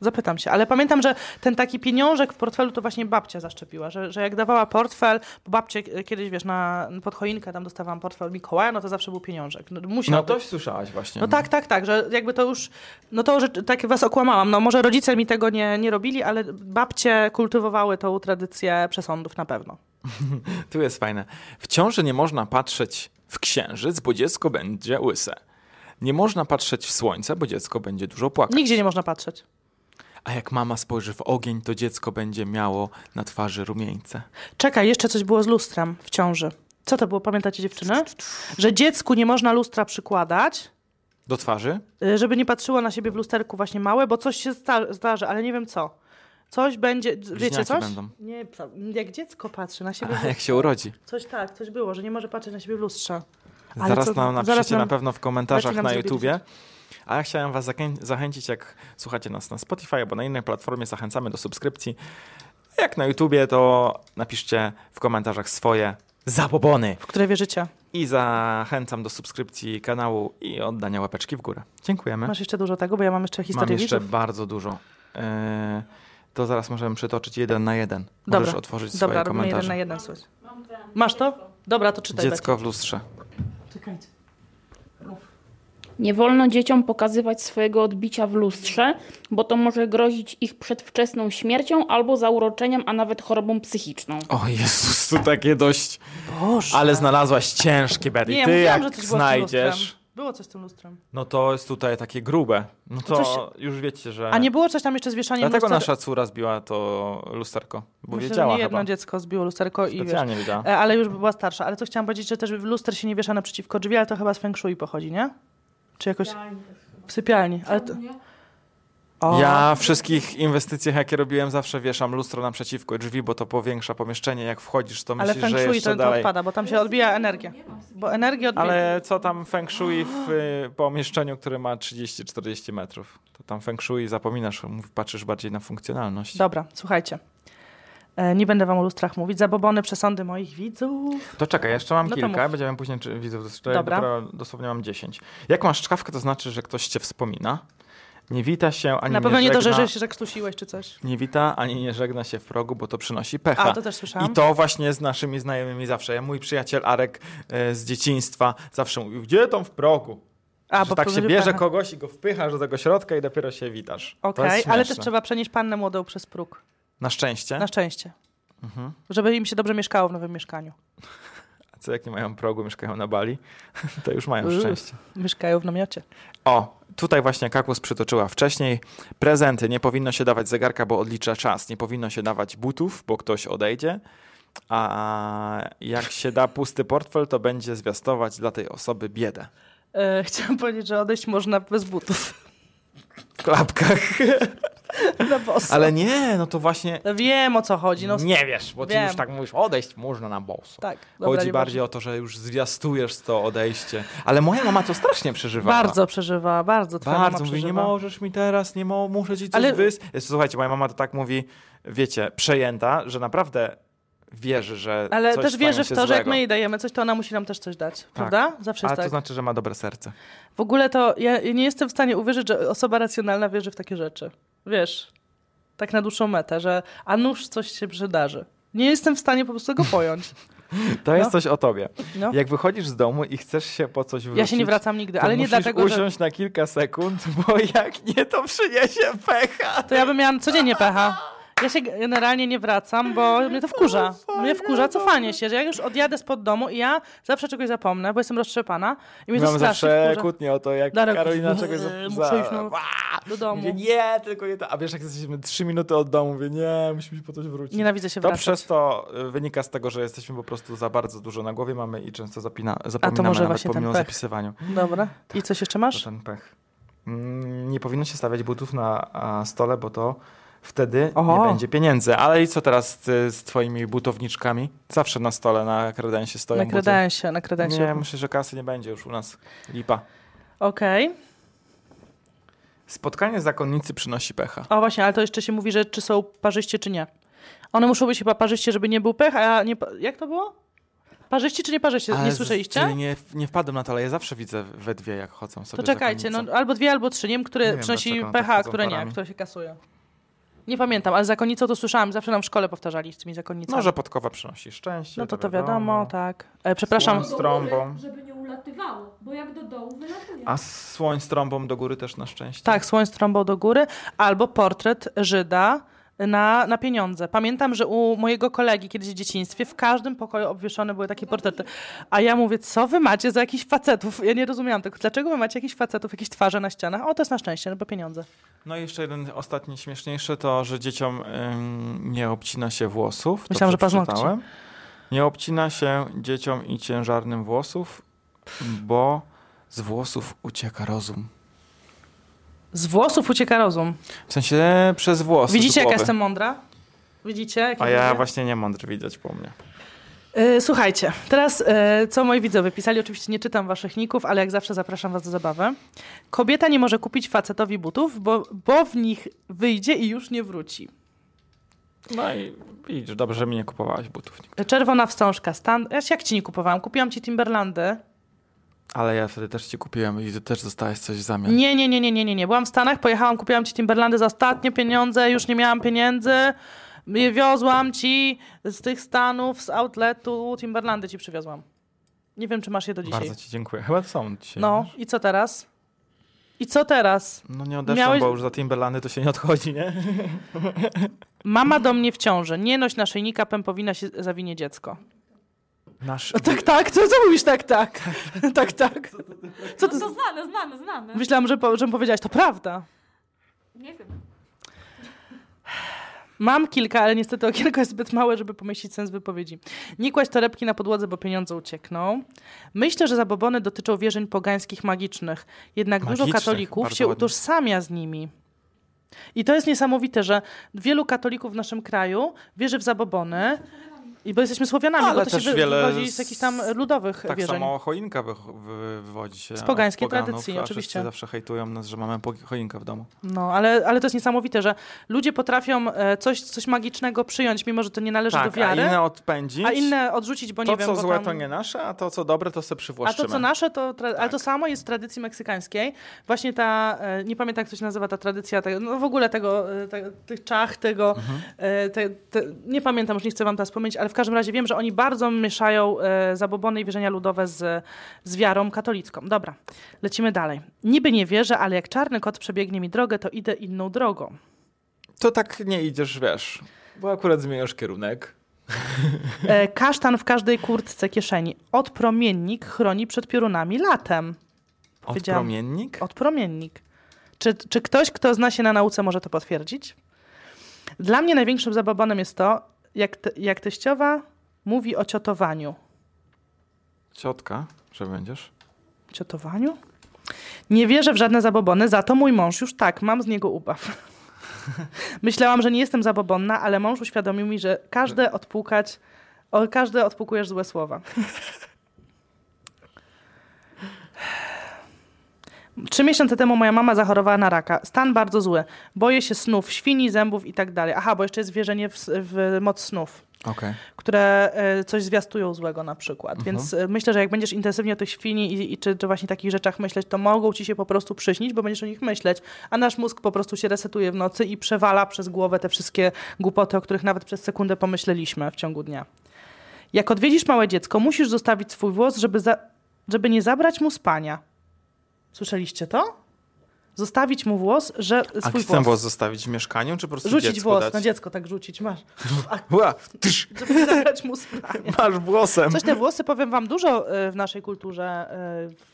S2: Zapytam się, ale pamiętam, że ten taki pieniążek w portfelu to właśnie babcia zaszczepiła, że, że jak dawała portfel, bo babcie e, kiedyś, wiesz, na pod choinkę tam dostawałam portfel od Mikołaja, no to zawsze był pieniążek. No, musiał
S1: No
S2: być.
S1: to słyszałaś właśnie.
S2: No tak, tak, tak, że jakby to już, no to, że tak was okłamałam, no może rodzice mi tego nie, nie robili, ale babcie kultywowały tą tradycję przesądów na pewno.
S1: Tu jest fajne. W ciąży nie można patrzeć w księżyc, bo dziecko będzie łyse. Nie można patrzeć w słońce, bo dziecko będzie dużo płakać.
S2: Nigdzie nie można patrzeć.
S1: A jak mama spojrzy w ogień, to dziecko będzie miało na twarzy rumieńce.
S2: Czekaj, jeszcze coś było z lustrem w ciąży. Co to było, pamiętacie dziewczyny? Że dziecku nie można lustra przykładać,
S1: Do twarzy?
S2: y, żeby nie patrzyło na siebie w lusterku właśnie małe, bo coś się sta- zdarzy, ale nie wiem co. Coś będzie, wiecie
S1: Bliźniaki
S2: coś?
S1: będą.
S2: Nie, co- jak dziecko patrzy na siebie,
S1: A jak się urodzi?
S2: coś tak, coś było, że nie może patrzeć na siebie w lustrze. Ale
S1: Zaraz
S2: co-
S1: nam
S2: zaraz
S1: napiszecie
S2: nam-
S1: na pewno w komentarzach
S2: Macie nam
S1: na
S2: zrobić
S1: YouTubie. A ja chciałem was zakę- zachęcić, jak słuchacie nas na Spotify albo na innej platformie, zachęcamy do subskrypcji. Jak na YouTubie, to napiszcie w komentarzach swoje zabobony.
S2: W które wierzycie?
S1: I zachęcam do subskrypcji kanału i oddania łapeczki w górę. Dziękujemy.
S2: Masz jeszcze dużo tego, bo ja mam jeszcze
S1: Mam
S2: historię
S1: jeszcze
S2: widzów.
S1: bardzo dużo. Yy, to zaraz możemy przytoczyć jeden na jeden.
S2: Dobra.
S1: Możesz otworzyć swoje
S2: Dobra, robimy jeden
S1: komentarze.
S2: na jeden, słuchaj. Masz to? Dobra, to czytaj.
S1: Dziecko w lustrze.
S2: Becia. Czekajcie.
S3: Nie wolno dzieciom pokazywać swojego odbicia w lustrze, bo to może grozić ich przedwczesną śmiercią albo zauroczeniem, a nawet chorobą psychiczną.
S1: O Jezus, tu takie dość...
S2: Boże.
S1: Ale znalazłaś ciężkie, Betty.
S2: Nie,
S1: Ty jak
S2: mówiłam, że coś było z tym
S1: znajdziesz,
S2: lustrem. Było coś z tym lustrem.
S1: no to jest tutaj takie grube. No to
S2: coś-
S1: już wiecie, że...
S2: A nie było coś tam jeszcze z wieszaniem
S1: Tak. Dlatego
S2: luster...
S1: nasza córa zbiła to lusterko. Bo
S2: Myślę, że
S1: wiedziała
S2: nie jedno
S1: chyba.
S2: dziecko zbiło lusterko i wiesz.
S1: Specjalnie wiedziała.
S2: E, Ale już była starsza. Ale co chciałam powiedzieć, że też w luster się nie wiesza naprzeciwko drzwi, ale to chyba z feng shui pochodzi, nie? Czy jakoś... W sypialni. Ale to...
S4: Nie?
S2: o.
S1: Ja w wszystkich inwestycjach, jakie robiłem, zawsze wieszam lustro naprzeciwko drzwi, bo to powiększa pomieszczenie. Jak wchodzisz, to
S2: Ale
S1: myślisz,
S2: feng
S1: że
S2: shui
S1: jeszcze
S2: to, to
S1: dalej.
S2: odpada, bo tam się
S4: tak,
S2: odbija energia. Bo energię odbija.
S1: Ale co tam feng shui w y, pomieszczeniu, które ma 30-40 metrów? To tam feng shui zapominasz, mów- patrzysz bardziej na funkcjonalność.
S2: Dobra, słuchajcie. E, Nie będę wam o lustrach mówić. Zabobony przesądy moich widzów.
S1: To czekaj, jeszcze mam
S2: No to
S1: kilka,
S2: mów.
S1: będziemy później czy, widzów dostrzeżać.
S2: Dobra.
S1: Dopiero dosłownie mam 10. Jak masz czkawkę, to znaczy, że ktoś cię wspomina. Nie wita się, ani
S2: Na pewno nie
S1: żegna.
S2: to, że, że, że krztusiłeś czy coś.
S1: Nie wita, ani nie żegna się w progu, bo to przynosi pecha.
S2: A, to też słyszałam.
S1: I to właśnie z naszymi znajomymi zawsze. Ja, mój przyjaciel Arek e, z dzieciństwa zawsze mówił, gdzie tam w progu?
S2: A,
S1: że tak się
S2: powoduje
S1: bierze
S2: pecha.
S1: kogoś i go wpychasz do tego środka i dopiero się witasz. To
S2: Okej,
S1: jest
S2: ale
S1: śmieszne.
S2: też trzeba przenieść pannę młodą przez próg.
S1: Na szczęście.
S2: Na szczęście.
S1: Mhm.
S2: Żeby im się dobrze mieszkało w nowym mieszkaniu.
S1: A co jak nie mają progu, mieszkają na Bali, (laughs) to już mają
S2: Uff.
S1: szczęście.
S2: Mieszkają w namiocie.
S1: O, tutaj właśnie Kakus przytoczyła wcześniej. Prezenty. Nie powinno się dawać zegarka, bo odlicza czas. Nie powinno się dawać butów, bo ktoś odejdzie. A jak się da pusty portfel, to będzie zwiastować dla tej osoby biedę.
S2: E, (laughs) chciałam powiedzieć, że odejść można bez butów. (laughs)
S1: W klapkach.
S2: Na boso.
S1: Ale nie, no to właśnie
S2: Wiem o co chodzi. No,
S1: nie wiesz, bo ty
S2: Wiem.
S1: już tak mówisz, odejść można na boso.
S2: Tak, dobra,
S1: Chodzi
S2: nie
S1: bardziej o to, że już zwiastujesz to odejście. Ale moja mama to strasznie przeżywała.
S2: Bardzo przeżywa, bardzo twoja
S1: Bardzo,
S2: mama
S1: mówi,
S2: przeżywa.
S1: nie możesz mi teraz, nie mo, muszę ci coś
S2: Ale-
S1: Ale... Słuchajcie, moja mama to tak mówi, wiecie, przejęta, że naprawdę wierzy, że
S2: Ale
S1: coś
S2: też
S1: stanie
S2: wierzę w
S1: się
S2: to, że jak
S1: złego.
S2: my jej dajemy coś, to ona musi nam też coś dać. Prawda? Zawsze
S1: Ale
S2: jest
S1: to
S2: tak.
S1: znaczy, że ma dobre serce.
S2: W ogóle to ja nie jestem w stanie uwierzyć, że osoba racjonalna wierzy w takie rzeczy. Wiesz, tak na dłuższą metę, że a nuż coś się przydarzy. Nie jestem w stanie po prostu tego pojąć.
S1: To jest coś o tobie.
S2: No.
S1: Jak wychodzisz z domu i chcesz się po coś wrócić,
S2: Ja się nie wracam nigdy,
S1: to
S2: ale nie
S1: musisz
S2: dlatego, że...
S1: usiąść na kilka sekund, (laughs) bo jak nie, to przyniesie pecha.
S2: To ja bym miała codziennie pecha. Ja się generalnie nie wracam, bo mnie to wkurza. Mnie wkurza cofanie się, że jak już odjadę spod domu i ja zawsze czegoś zapomnę, bo jestem roztrzepana i mnie to
S1: Mam
S2: strasznie
S1: zawsze
S2: wkurza.
S1: kłótnię o to, jak
S2: Darek,
S1: Karolina czegoś za...
S2: eee,
S1: za-
S2: muszę iść na- do domu.
S1: Mówię, nie, tylko nie to. A wiesz, jak jesteśmy trzy minuty od domu, mówię, nie, musimy się po coś wrócić.
S2: Nienawidzę się
S1: To
S2: wracać.
S1: przez to y, wynika z tego, że jesteśmy po prostu za bardzo dużo na głowie mamy i często zapina, zapominamy
S2: może
S1: nawet
S2: właśnie ten
S1: pomimo
S2: pech.
S1: zapisywaniu.
S2: Dobra. I coś jeszcze
S1: To
S2: masz?
S1: ten pech. Mm, Nie powinno się stawiać butów na a, stole, bo to wtedy
S2: Oho.
S1: nie będzie pieniędzy. Ale i co teraz z, z twoimi butowniczkami? Zawsze na stole na kredensie stoją buty.
S2: Nakradałem się, nakradałem
S1: Nie,
S2: tak się.
S1: myślę, że kasy nie będzie już u nas. Lipa.
S2: Okej.
S1: Spotkanie zakonnicy przynosi pecha.
S2: O właśnie, ale to jeszcze się mówi, że czy są parzyście, czy nie. One muszą być chyba parzyście, żeby nie był pech, a ja nie... pa- Jak to było? Parzyści czy nie parzyści?
S1: Ale
S2: nie
S1: z-
S2: słyszeliście?
S1: czyli Nie, nie wpadłem na to, ale ja zawsze widzę we dwie, jak chodzą sobie
S2: To czekajcie,
S1: zakonnice.
S2: no albo dwie, albo trzy. Nie wiem, które
S1: Nie wiem,
S2: przynosi
S1: dlaczego one tak
S2: PH,
S1: chodzą
S2: które nie,
S1: parami.
S2: które się kasuje. Nie pamiętam, ale zakonnicą to słyszałam. Zawsze nam w szkole powtarzali z tymi zakonnicami.
S1: No, że podkowa przynosi szczęście.
S2: no to to wiadomo, tak. E, przepraszam,
S1: Z trąbą.
S4: Żeby nie ulatywało, bo jak do dołu wylatuje.
S1: A słoń z trąbą do góry też na szczęście.
S2: tak, słoń z trąbą do góry, albo portret Żyda na, na pieniądze. Pamiętam, że u mojego kolegi kiedyś w dzieciństwie w każdym pokoju obwieszone były takie portrety. A ja mówię, co wy macie za jakichś facetów? Ja nie rozumiałam tego. Dlaczego wy macie jakichś facetów, jakieś twarze na ścianach? O, to jest na szczęście, no bo pieniądze.
S1: No i jeszcze jeden ostatni śmieszniejszy to, że dzieciom ym, nie obcina się włosów. To
S2: Myślałam, że paznokci.
S1: przeczytałem. Nie obcina się dzieciom i ciężarnym włosów, bo z włosów ucieka rozum.
S2: Z włosów ucieka rozum.
S1: W sensie przez włosy. z
S2: Widzicie, jaka
S1: głowy.
S2: jestem mądra? Widzicie? jak
S1: A ja
S2: mówię?
S1: właśnie nie mądry widać po mnie.
S2: E, Słuchajcie, teraz e, co moi widzowie pisali, oczywiście nie czytam waszych ników, ale jak zawsze zapraszam was do zabawy. Kobieta nie może kupić facetowi butów, bo, bo w nich wyjdzie i już nie wróci.
S1: No i widzisz, dobrze, że mi nie kupowałaś butów. nigdy.
S2: Czerwona wstążka, stan... Ja się jak ci nie kupowałam? Kupiłam ci Timberlandy.
S1: Ale ja wtedy też ci kupiłem i ty też dostałeś coś w zamian.
S2: Nie, nie, nie, nie, nie, nie, nie. Byłam w Stanach, pojechałam, kupiłam ci Timberlandy za ostatnie pieniądze, już nie miałam pieniędzy. Je Wiozłam ci z tych Stanów, z outletu, Timberlandy ci przywiozłam. Nie wiem, czy masz je do dzisiaj.
S1: Bardzo ci dziękuję. Chyba są dzisiaj.
S2: No, i co teraz? I co teraz?
S1: No nie odeszłam,
S2: Miałeś-
S1: bo już za Timberlandy to się nie odchodzi, nie?
S2: (laughs) Mama do mnie w ciąży. Nie noś naszyjnika, pępowina się zawinie dziecko. (laughs)
S1: Nasz...
S2: Tak, tak, co, co mówisz? Tak, tak. (laughs) Tak, tak. Co
S4: No
S2: ty...
S4: to znane, znane, znane.
S2: Myślałam, że, po, że powiedziałaś to prawda.
S4: Nie wiem.
S2: Mam kilka, ale niestety okienko jest zbyt małe, żeby pomieścić sens wypowiedzi. Nie kłaść torebki na podłodze, bo pieniądze uciekną. Myślę, że zabobony dotyczą wierzeń pogańskich, magicznych. Jednak dużo
S1: Magicznych,
S2: katolików
S1: bardzo
S2: się
S1: ładnie.
S2: utożsamia z nimi. I to jest niesamowite, że wielu katolików w naszym kraju wierzy w zabobony, i bo jesteśmy Słowianami,
S1: Ale
S2: bo to się
S1: też
S2: wy-
S1: wiele
S2: wywodzi z jakichś tam ludowych
S1: Tak
S2: wierzeń.
S1: samo choinka wych- wy- wywodzi się.
S2: Z pogańskiej
S1: od poganów,
S2: tradycji,
S1: a
S2: oczywiście.
S1: wszyscy zawsze hejtują nas, że mamy po- choinkę w domu.
S2: No, ale, ale to jest niesamowite, że ludzie potrafią e, coś, coś magicznego przyjąć, mimo że to nie należy do
S1: Tak, a
S2: wiary,
S1: inne odpędzić.
S2: a inne odrzucić, bo
S1: to,
S2: nie wiem,
S1: co
S2: bo
S1: złe,
S2: tam...
S1: to nie nasze, a to, co dobre, to sobie
S2: A
S1: przywłaszczymy.
S2: to, co nasze, to tra- ale
S1: Tak.
S2: to samo jest w tradycji meksykańskiej. Właśnie ta, e, nie pamiętam jak to się nazywa, ta tradycja, tego, no w ogóle tego, e, te, tych czach, tego, e, te, te, nie pamiętam, już nie chcę wam teraz wspomnieć, ale w każdym razie wiem, że oni bardzo mieszają e, zabobony i wierzenia ludowe z, z wiarą katolicką. Dobra, lecimy dalej. Niby nie wierzę, ale jak czarny kot przebiegnie mi drogę, to idę inną drogą.
S1: To tak nie idziesz, wiesz, bo akurat zmieniasz kierunek.
S2: E, kasztan w każdej kurtce kieszeni. Odpromiennik chroni przed piorunami latem. Powiedziałam-
S1: Odpromiennik?
S2: Odpromiennik. Czy, czy ktoś, kto zna się na nauce, może to potwierdzić? Dla mnie największym zababonem jest to, jak, te, jak teściowa mówi o ciotowaniu.
S1: Ciotka, że będziesz?
S2: Ciotowaniu? Nie wierzę w żadne zabobony, za to mój mąż już tak, mam z niego ubaw. (laughs) Myślałam, że nie jestem zabobonna, ale mąż uświadomił mi, że każde odpukać, o każde odpukujesz złe słowa. (sighs) Trzy miesiące temu moja mama zachorowała na raka. Stan bardzo zły. Boję się snów, świni, zębów i tak dalej. Aha, bo jeszcze jest wierzenie w, s- w moc snów
S1: Okej.
S2: które e, coś zwiastują złego na przykład.
S1: Mhm.
S2: Więc e, myślę, że jak będziesz intensywnie o tych świni i, i czy, czy właśnie takich rzeczach myśleć, to mogą ci się po prostu przyśnić, bo będziesz o nich myśleć, a nasz mózg po prostu się resetuje w nocy i przewala przez głowę te wszystkie głupoty, o których nawet przez sekundę pomyśleliśmy w ciągu dnia. Jak odwiedzisz małe dziecko, musisz zostawić swój włos, żeby, za, żeby nie zabrać mu spania. Słyszeliście to? Zostawić mu włos, że
S1: A
S2: swój
S1: gdzie ten
S2: włos.
S1: włos zostawić? W mieszkaniu, czy po prostu
S2: Rzucić
S1: dziecku
S2: włos
S1: dać?
S2: na dziecko, tak rzucić, masz. A,
S1: Ła, tysz,
S2: żeby nie zabrać
S1: (laughs)
S2: mu spania.
S1: masz włosem.
S2: Coś te włosy, powiem wam, dużo e, w naszej kulturze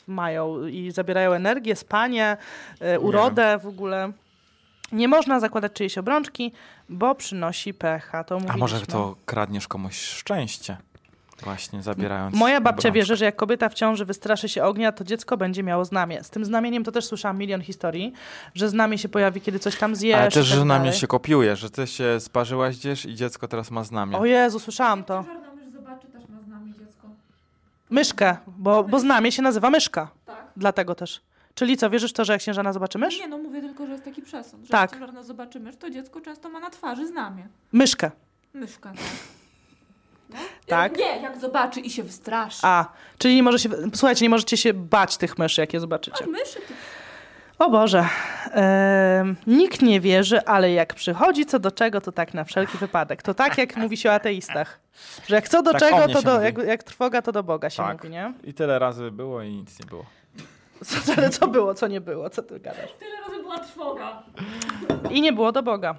S2: e, mają i zabierają energię, spanie, e, urodę w ogóle. Nie można zakładać czyjejś obrączki, bo przynosi pecha. To
S1: A
S2: mówiliśmy.
S1: może to kradniesz komuś szczęście? Właśnie zabierając.
S2: Moja babcia
S1: obrączkę.
S2: wierzy, że jak kobieta w ciąży wystraszy się ognia, to dziecko będzie miało znamię. Z tym znamieniem to też słyszałam milion historii, że znamię się pojawi, kiedy coś tam zjesz.
S1: Ale też,
S2: i tak
S1: że na mnie
S2: dalej.
S1: się kopiuje, że ty się sparzyłaś gdzieś i dziecko teraz ma znamię.
S2: O Jezu, słyszałam to.
S4: Czarnomysz zobaczy, też ma z nami dziecko.
S2: Myszkę, bo, bo znamię się nazywa myszka.
S4: Tak.
S2: Dlatego też. Czyli co, wierzysz w to, że jak księżana zobaczy mysz?
S4: Nie, no mówię tylko, że jest taki przesąd, że
S2: Tak.
S4: jak czarno zobaczymy, że to dziecko często ma na twarzy znamie.
S2: Myszkę.
S4: Myszka. tak.
S2: (laughs) Tak.
S4: Nie, jak zobaczy i się wystraszy.
S2: A, czyli nie może się, słuchajcie, nie możecie się bać tych myszy, jak je zobaczycie.
S4: A myszy to
S2: O Boże. Em, nikt nie wierzy, ale jak przychodzi co do czego, to tak na wszelki wypadek. To tak, jak mówi się o ateistach. Że jak co do
S1: Tak o
S2: czego,
S1: mnie
S2: to
S1: się
S2: do,
S1: mówi.
S2: jak, jak trwoga, to do Boga się
S1: Tak.
S2: mówi, nie?
S1: I tyle razy było i nic nie było.
S2: Co, ale co było, co nie było, co ty gadasz?
S4: tyle razy była trwoga.
S2: I nie było do Boga.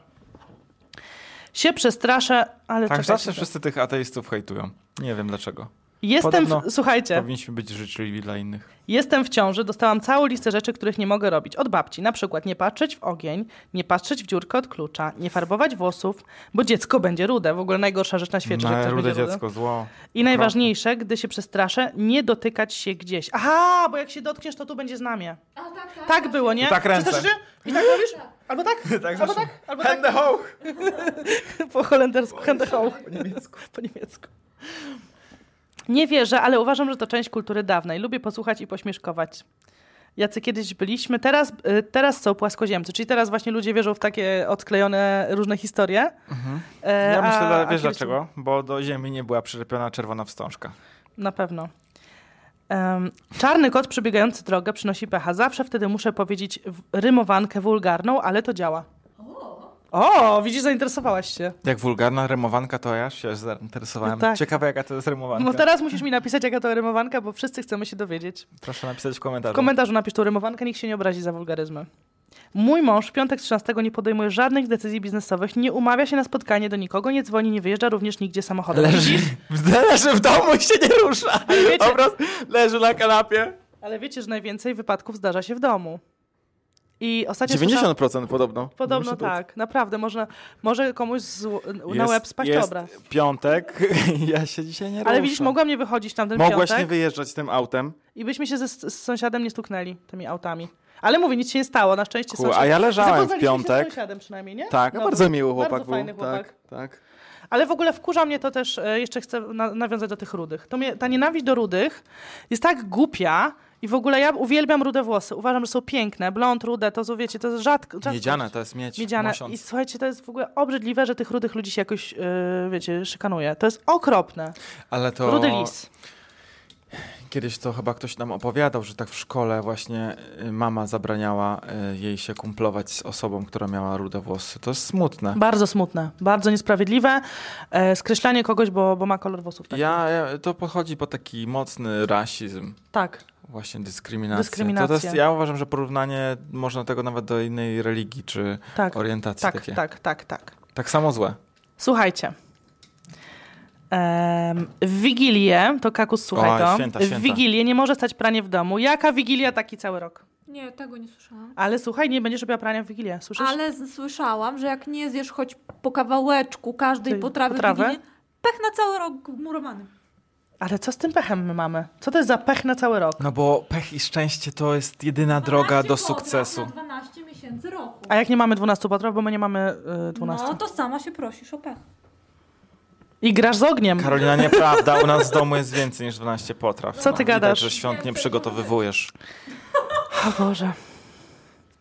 S2: Się przestraszę, ale
S1: Tak,
S2: czekajcie,
S1: zawsze
S2: to-
S1: wszyscy tych ateistów hejtują. Nie wiem dlaczego.
S2: Jestem, w,
S1: podobno-
S2: słuchajcie,
S1: Powinniśmy być życzliwi dla innych.
S2: jestem w ciąży, dostałam całą listę rzeczy, których nie mogę robić. Od babci, na przykład nie patrzeć w ogień, nie patrzeć w dziurkę od klucza, nie farbować włosów, bo dziecko będzie rude. W ogóle najgorsza rzecz na świecie, że
S1: Na
S2: ktoś
S1: rude
S2: będzie rude.
S1: dziecko, (laughs) No. zło.
S2: I najważniejsze, gdy się przestraszę, nie dotykać się gdzieś. Aha, bo jak się dotkniesz, to tu będzie znamie.
S4: A tak, tak.
S2: Tak było, nie?
S1: I tak ręce.
S2: Przestraszysz się? I tak robisz? Albo tak? albo tak? Albo tak? Po holendersku, handheld. Po niemiecku. Po niemiecku. Nie wierzę, ale uważam, że to część kultury dawnej. Lubię posłuchać i pośmieszkować. Jacy kiedyś byliśmy, teraz, y, teraz są płaskoziemcy, czyli teraz właśnie ludzie wierzą w takie odklejone różne historie. E,
S1: Mhm. Ja
S2: a-
S1: myślę, że
S2: a
S1: wiesz
S2: kiedyś-
S1: dlaczego? Bo do ziemi nie była przylepiona czerwona wstążka.
S2: Na pewno. Em, czarny kot przebiegający drogę przynosi pecha. Zawsze wtedy muszę powiedzieć w- rymowankę wulgarną, ale to działa. O, widzisz, zainteresowałaś się.
S1: Jak wulgarna rymowanka, to ja się zainteresowałem.
S2: No tak.
S1: Ciekawe, jaka to jest rymowanka.
S2: No teraz musisz mi napisać, jaka to rymowanka, bo wszyscy chcemy się dowiedzieć.
S1: Proszę napisać w
S2: W
S1: komentarzu.
S2: komentarzu napisz tą rymowankę, nikt się nie obrazi za wulgaryzmy. Mój mąż w piątek 13 nie podejmuje żadnych decyzji biznesowych, nie umawia się na spotkanie do nikogo, nie dzwoni, nie wyjeżdża również nigdzie samochodem.
S1: leży, (laughs) leży w domu i się nie rusza.
S2: wiecie-
S1: Obraz leży na kanapie.
S2: Ale wiecie, że najwięcej wypadków zdarza się w domu. I ostatnio słyszałam-
S1: 90% podobno.
S2: Podobno tak, naprawdę. Można, może komuś z, na
S1: Jest-
S2: łeb spaść
S1: jest
S2: obraz.
S1: piątek, (laughs) ja się dzisiaj nie
S2: Ale
S1: ruszam.
S2: widzisz, mogłam nie wychodzić tamten
S1: Mogłaś nie
S2: piątek
S1: wyjeżdżać tym autem,
S2: i byśmy się ze, z sąsiadem nie stuknęli tymi autami. Ale mówię, nic się nie stało, na szczęście
S1: Ku, a
S2: sąsiad...
S1: ja leżałem w
S2: Zapoznaliśmy Się
S1: piątek.
S2: z sąsiadem przynajmniej, nie?
S1: Tak,
S2: No,
S1: bardzo miły chłopak
S2: bardzo
S1: był.
S2: fajny chłopak.
S1: Tak, tak.
S2: Ale w ogóle wkurza mnie to też, e, jeszcze chcę na, nawiązać do tych rudych. To mnie, ta nienawiść do rudych jest tak głupia i w ogóle ja uwielbiam rude włosy. Uważam, że są piękne. Blond, rude, to są, wiecie, to jest rzadko. rzadkość.
S1: Miedziane to jest miedź.
S2: Miedziane. I
S1: Mosiąc.
S2: słuchajcie, to jest w ogóle obrzydliwe, że tych rudych ludzi się jakoś, yy, wiecie, szykanuje. To jest okropne.
S1: Ale to
S2: Rudy lis.
S1: kiedyś to chyba ktoś nam opowiadał, że tak w szkole właśnie y, mama zabraniała y, jej się kumplować z osobą, która miała rude włosy. To jest smutne.
S2: Bardzo smutne, bardzo niesprawiedliwe. E, skreślanie kogoś, bo, bo ma kolor włosów. Tak.
S1: Ja, ja, to pochodzi po taki mocny rasizm.
S2: tak.
S1: Właśnie dyskryminacja.
S2: Dyskryminacja.
S1: To, to jest, ja uważam, że porównanie można tego nawet do innej religii czy
S2: Tak.
S1: orientacji
S2: Tak,
S1: takiej.
S2: tak, tak, tak.
S1: tak samo złe.
S2: Słuchajcie. Em, W Wigilię, to kakus, słuchaj
S1: Oj,
S2: to.
S1: święta,
S2: W
S1: święta.
S2: Wigilię nie może stać pranie w domu. Jaka Wigilia taki cały rok?
S4: Nie, tego nie słyszałam.
S2: Ale słuchaj, nie będziesz robiła prania w Wigilię, słyszysz?
S4: Ale z- słyszałam, że jak nie zjesz choć po kawałeczku każdej
S2: Tej
S4: potrawy,
S2: potrawy?
S4: w Wigilię, pech na cały rok murowany.
S2: Ale co z tym pechem my mamy? Co to jest za pech na cały rok?
S1: No bo pech i szczęście to jest jedyna droga
S4: 12
S1: do
S4: potraw
S1: sukcesu.
S4: Na 12 miesięcy roku.
S2: A jak nie mamy 12 potraw, bo my nie mamy y, 12.
S4: No to sama się prosisz o pech.
S2: I grasz z ogniem.
S1: Karolina, nieprawda, u nas w domu jest więcej niż 12 potraw. No,
S2: Co ty gadasz?
S1: Widać, że świąt nie przygotowywujesz.
S2: O Boże.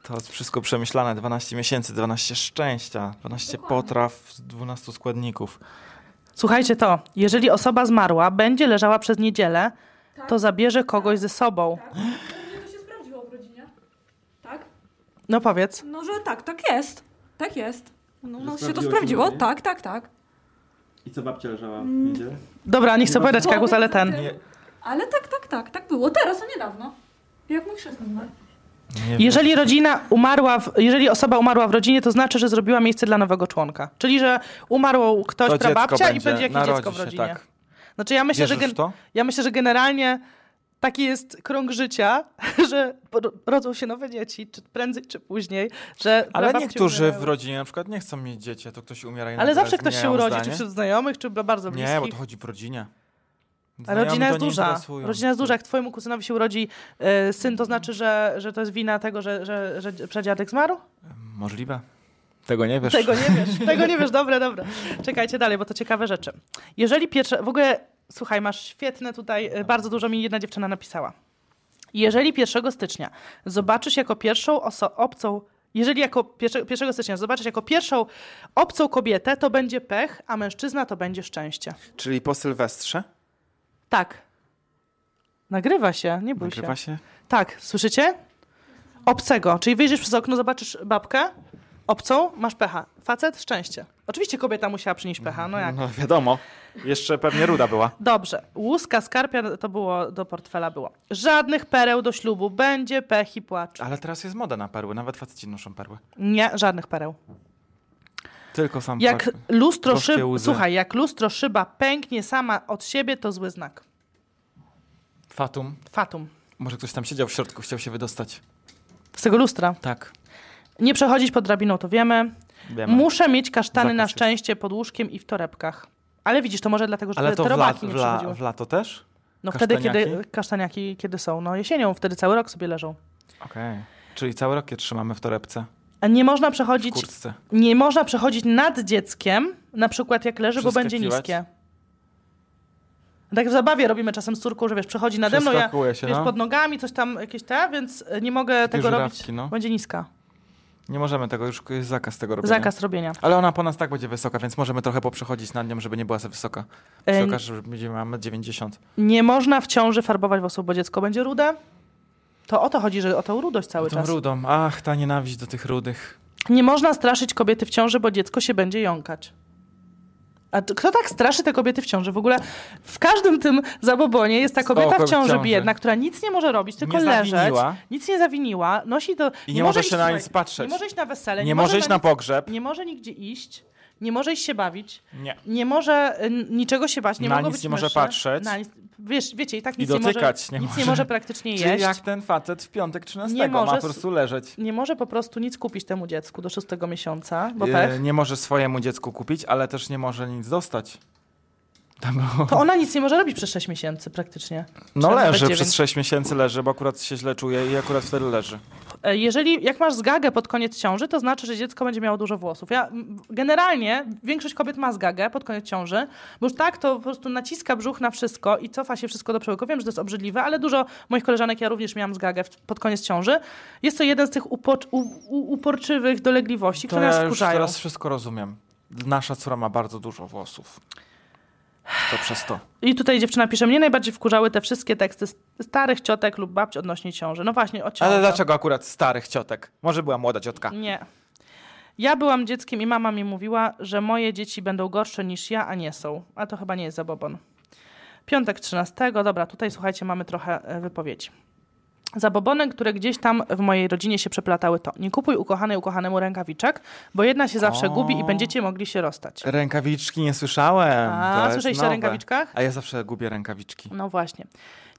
S1: To jest wszystko przemyślane. 12 miesięcy, 12 szczęścia, 12 potraw z 12 składników.
S2: Słuchajcie to, jeżeli osoba zmarła będzie leżała przez niedzielę,
S4: Tak.
S2: to zabierze kogoś ze sobą.
S4: Nie, to się sprawdziło w rodzinie. Tak?
S2: No powiedz.
S4: No, że tak, tak jest. Tak jest. No, no się to
S1: sprawdziło się
S4: sprawdziło?
S1: mówi?
S4: Tak, tak, tak.
S1: I co babcia leżała w niedzielę?
S2: Dobra, nie chcę opowiadać
S4: Powiedz
S2: kakus, ale
S4: o
S2: ten.
S4: tym.
S1: Nie.
S4: Ale tak, tak, tak, tak było. Teraz, a niedawno. Jak mój chrzest numer.
S1: Nie Jeżeli...
S2: Jeżeli rodzina umarła, w, jeżeli osoba umarła w rodzinie, to znaczy, że zrobiła miejsce dla nowego członka. Czyli, że umarł ktoś,
S1: To dziecko
S2: prababcia i
S1: będzie,
S2: będzie jakieś
S1: narodzi
S2: dziecko w
S1: się,
S2: rodzinie.
S1: tak.
S2: Znaczy ja myślę,
S1: Wierzysz
S2: że gen-
S1: w to?
S2: ja myślę, że generalnie taki jest krąg życia, (laughs) że ro- rodzą się nowe dzieci, czy prędzej, czy później, że
S1: Ale
S2: prababci
S1: niektórzy w
S2: umierają.
S1: rodzinie na przykład nie chcą mieć dzieci, a to ktoś umiera i
S2: Ale
S1: nagle
S2: zawsze ktoś się
S1: zmieniają
S2: urodzi, czy
S1: zdanie.
S2: wśród znajomych, czy bardzo bliskich.
S1: Nie, bo to chodzi w rodzinie.
S2: A
S1: Znajomi
S2: rodzina
S1: to
S2: jest
S1: nie
S2: duża.
S1: interesują.
S2: Rodzina jest duża. Jak twojemu kuzynowi się urodzi e, syn, to znaczy, że, że to jest wina tego, że, że, że przedziadek zmarł?
S1: E, Możliwe. Tego nie wiesz.
S2: Tego nie wiesz. Tego nie wiesz. Dobra, dobra. Czekajcie dalej, bo to ciekawe rzeczy. Jeżeli pierwsze... W ogóle, słuchaj, masz świetne tutaj... e, Bardzo dużo mi jedna dziewczyna napisała. Jeżeli 1 stycznia zobaczysz jako pierwszą oso- obcą Jeżeli jako pierwsze- 1 stycznia zobaczysz jako pierwszą obcą kobietę, to będzie pech, a mężczyzna to będzie szczęście.
S1: Czyli po Sylwestrze?
S2: Tak. Nagrywa się, nie bój
S1: Nagrywa
S2: się.
S1: się?
S2: Tak, słyszycie? Obcego. Czyli wyjrzysz przez okno, zobaczysz babkę obcą, masz pecha. Facet, szczęście. Oczywiście kobieta musiała przynieść pecha, no jak.
S1: No wiadomo. Jeszcze pewnie ruda była.
S2: Dobrze. Łuska skarpia to było do portfela było. Żadnych pereł do ślubu. Będzie pech i płacz.
S1: Ale teraz jest moda na perły, nawet faceci noszą perły.
S2: Nie, żadnych pereł.
S1: Tylko sam
S2: Jak
S1: płaszcz.
S2: lustro
S1: Gorzkie
S2: szyba,
S1: Tak. łzy.
S2: słuchaj, jak lustro szyba pęknie sama od siebie, to zły znak.
S1: Fatum.
S2: Fatum.
S1: Może ktoś tam siedział w środku, chciał się wydostać.
S2: Z tego lustra.
S1: Tak.
S2: Nie przechodzić pod drabiną, to wiemy.
S1: Wiemy.
S2: Muszę mieć kasztany
S1: Zakaz
S2: na
S1: jest.
S2: szczęście pod łóżkiem i w torebkach. Ale widzisz, to może dlatego, że
S1: Ale
S2: te
S1: to w, la,
S2: robaki
S1: w,
S2: nie
S1: la,
S2: przychodziły.
S1: w lato też?
S2: No wtedy, kiedy
S1: kasztaniaki?
S2: kasztaniaki kiedy są? No jesienią, wtedy cały rok sobie leżą.
S1: Okej. Czyli cały rok je trzymamy w torebce,
S2: A nie można
S1: w
S2: przechodzić,
S1: kurtce.
S2: nie można przechodzić nad dzieckiem, na przykład jak leży, bo będzie
S1: Przeskakiwać?
S2: niskie. Tak w zabawie robimy czasem z córką, że wiesz, przechodzi nade mną, ja
S1: Przeskakuje się,
S2: wiesz,
S1: no.
S2: pod nogami coś tam, jakieś te, więc y, nie mogę tego robić.
S1: żurawki, no.
S2: Będzie niska.
S1: Nie możemy tego, już jest zakaz tego robienia.
S2: Zakaz robienia.
S1: Ale ona po nas tak będzie wysoka, więc możemy trochę poprzechodzić nad nią, żeby nie była za wysoka.
S2: E,
S1: Wysoka, że będziemy mamy 90.
S2: Nie można w ciąży farbować włosów, bo dziecko będzie rude. To o to chodzi, że o tą rudość cały
S1: Tą
S2: czas.
S1: rudą. Ach, ta nienawiść do tych rudych.
S2: Nie można straszyć kobiety w ciąży, bo dziecko się będzie jąkać. A t- kto tak straszy te kobiety w ciąży? W ogóle w każdym tym zabobonie jest ta kobieta
S1: kobiet
S2: w
S1: w
S2: ciąży
S1: ciąży.
S2: biedna, która nic nie może robić, tylko
S1: Nie
S2: leżeć.
S1: zawiniła.
S2: Nic nie zawiniła, nosi to.
S1: I nie może
S2: iść,
S1: się na
S2: słuchaj,
S1: nic patrzeć.
S2: Nie może iść na wesele,
S1: Nie, może iść na
S2: nic-
S1: pogrzeb.
S2: Nie może nigdzie iść, nie może iść się bawić.
S1: Nie.
S2: Nie może y, niczego się bać, nie
S1: Na
S2: mogą
S1: nic
S2: być
S1: nie może
S2: myszy,
S1: patrzeć.
S2: Na nic, wiesz, wiecie, i tak
S1: I
S2: nic
S1: dotykać
S2: nie
S1: nie
S2: może. Nic nie
S1: może.
S2: może praktycznie
S1: (laughs) Czyli
S2: jeść.
S1: jak ten facet w piątek 13
S2: Nie
S1: ma
S2: może
S1: po prostu leżeć.
S2: Nie może po prostu nic kupić temu dziecku do szóstego miesiąca, bo
S1: E,
S2: pech.
S1: Nie może swojemu dziecku kupić, ale też nie może nic dostać. Tam było.
S2: To ona nic nie może robić przez 6 miesięcy praktycznie.
S1: No
S2: Czy nawet
S1: leży,
S2: dziewięć.
S1: przez 6 miesięcy leży, bo akurat się źle czuje i akurat wtedy leży.
S2: E, Jeżeli, jak masz zgagę pod koniec ciąży, to znaczy, że dziecko będzie miało dużo włosów. Ja, m, generalnie większość kobiet ma zgagę pod koniec ciąży, bo już tak to po prostu naciska brzuch na wszystko i cofa się wszystko do przełyku. Wiem, że to jest obrzydliwe, ale dużo moich koleżanek, ja również miałam zgagę w- pod koniec ciąży. Jest to jeden z tych upocz, u, u, uporczywych dolegliwości,
S1: To
S2: które nas
S1: ja już
S2: wkurzają.
S1: teraz wszystko rozumiem. Nasza córa ma bardzo dużo włosów. To przez to.
S2: I tutaj dziewczyna pisze, mnie najbardziej wkurzały te wszystkie teksty s- starych ciotek lub babci odnośnie ciąży. No właśnie, o ciąży.
S1: Ale dlaczego akurat starych ciotek? Może była młoda ciotka.
S2: Nie. Ja byłam dzieckiem i mama mi mówiła, że moje dzieci będą gorsze niż ja, a nie są. A to chyba nie jest zabobon. Piątek 13. Dobra, tutaj słuchajcie, mamy trochę e, wypowiedzi. Zabobony, które gdzieś tam w mojej rodzinie się przeplatały to nie kupuj ukochanej ukochanemu rękawiczek, bo jedna się zawsze
S1: O.
S2: gubi i będziecie mogli się rozstać.
S1: Rękawiczki nie słyszałem.
S2: A,
S1: To jest
S2: słyszeliście o
S1: nowe.
S2: rękawiczkach?
S1: A ja zawsze gubię rękawiczki.
S2: No właśnie.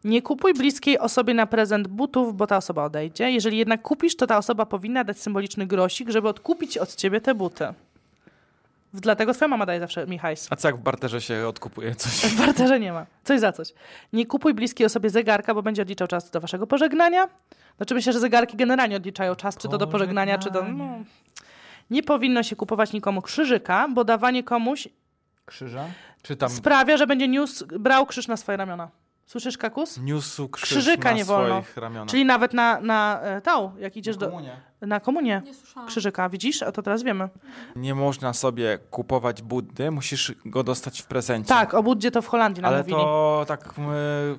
S2: Nie kupuj bliskiej osobie na prezent butów, bo ta osoba odejdzie. Jeżeli jednak kupisz, to ta osoba powinna dać symboliczny grosik, żeby odkupić od ciebie te buty. Dlatego twoja mama daje zawsze mi hajs.
S1: A co jak w barterze się odkupuje coś?
S2: W barterze nie ma. Coś za coś. Nie kupuj bliskiej osobie zegarka, bo będzie odliczał czas do waszego pożegnania. Znaczy myślę, że zegarki generalnie odliczają czas, czy to do pożegnania, czy do... No. Nie powinno się kupować nikomu krzyżyka, bo dawanie komuś
S1: Krzyża? Czy tam
S2: sprawia, że będzie niósł, brał krzyż na swoje ramiona. Słyszysz, kakus?
S1: niósł krzyż
S2: Krzyżyka
S1: na
S2: nie wolno.
S1: swoich ramionach?
S2: Czyli nawet na, na e, tą, jak idziesz do,
S1: Komunia.
S2: na komunię
S4: Nie słyszałam.
S2: krzyżyka, widzisz? A to teraz wiemy.
S1: Nie można sobie kupować buddy, musisz go dostać w prezencie.
S2: Tak, o Buddzie to w Holandii nam
S1: Ale
S2: mówili.
S1: to tak y,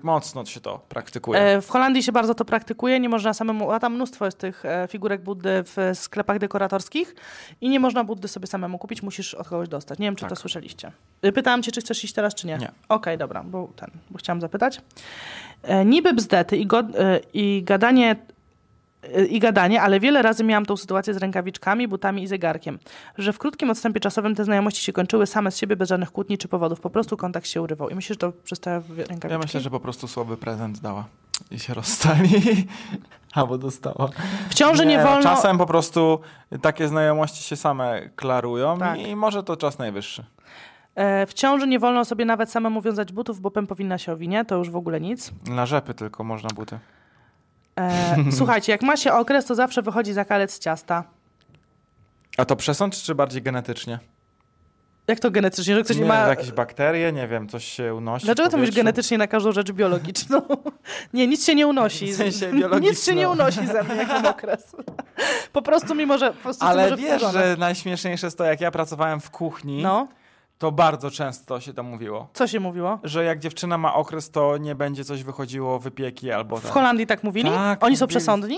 S1: mocno się to praktykuje.
S2: E, W Holandii się bardzo to praktykuje, nie można samemu, a tam mnóstwo jest tych e, figurek Buddy w e, sklepach dekoratorskich i nie można Buddy sobie samemu kupić, musisz od kogoś dostać. Nie wiem, czy
S1: Tak.
S2: to słyszeliście. Y, Pytałam cię, czy chcesz iść teraz, czy nie.
S1: Nie.
S2: Okej, dobra, bo ten, bo chciałam zapytać. E, Niby bzdety i, god, e, i gadanie e, i gadanie, ale wiele razy miałam tą sytuację z rękawiczkami, butami i zegarkiem, że w krótkim odstępie czasowym te znajomości się kończyły same z siebie bez żadnych kłótni czy powodów, po prostu kontakt się urywał. I myślisz, że to przez te rękawiczki?
S1: Ja myślę, że po prostu słaby prezent dała i się rozstali. (laughs) Albo dostała.
S2: W ciąży nie,
S1: no,
S2: wolno...
S1: Czasem po prostu takie znajomości się same klarują
S2: Tak.
S1: i może to czas najwyższy.
S2: E, W ciąży nie wolno sobie nawet samemu wiązać butów, bo pęp powinna się owinie, to już w ogóle nic.
S1: Na rzepy tylko można buty. (laughs)
S2: E, słuchajcie, jak ma się okres, to zawsze wychodzi zakalec z ciasta.
S1: A to przesąd czy bardziej genetycznie?
S2: Jak to genetycznie? Że ktoś
S1: nie,
S2: ma...
S1: jakieś bakterie, nie wiem, coś się unosi.
S2: Dlaczego
S1: w
S2: to mówisz
S1: powietrzu?
S2: genetycznie na każdą rzecz biologiczną? (laughs) Nie, nic się nie unosi.
S1: W sensie
S2: (laughs) nic się
S1: biologiczną.
S2: nie unosi ze mnie
S1: (laughs)
S2: jako okres. (laughs) Po prostu mimo, że... Po prostu jestem
S1: Ale
S2: może
S1: wiesz,
S2: wkurzona.
S1: że najśmieszniejsze jest to, jak ja pracowałem w kuchni,
S2: No,
S1: to bardzo często się to mówiło.
S2: co się mówiło?
S1: Że jak dziewczyna ma okres, to nie będzie coś wychodziło, wypieki albo...
S2: W
S1: ten.
S2: Holandii tak mówili?
S1: Tak,
S2: Oni są
S1: mówili.
S2: przesądni?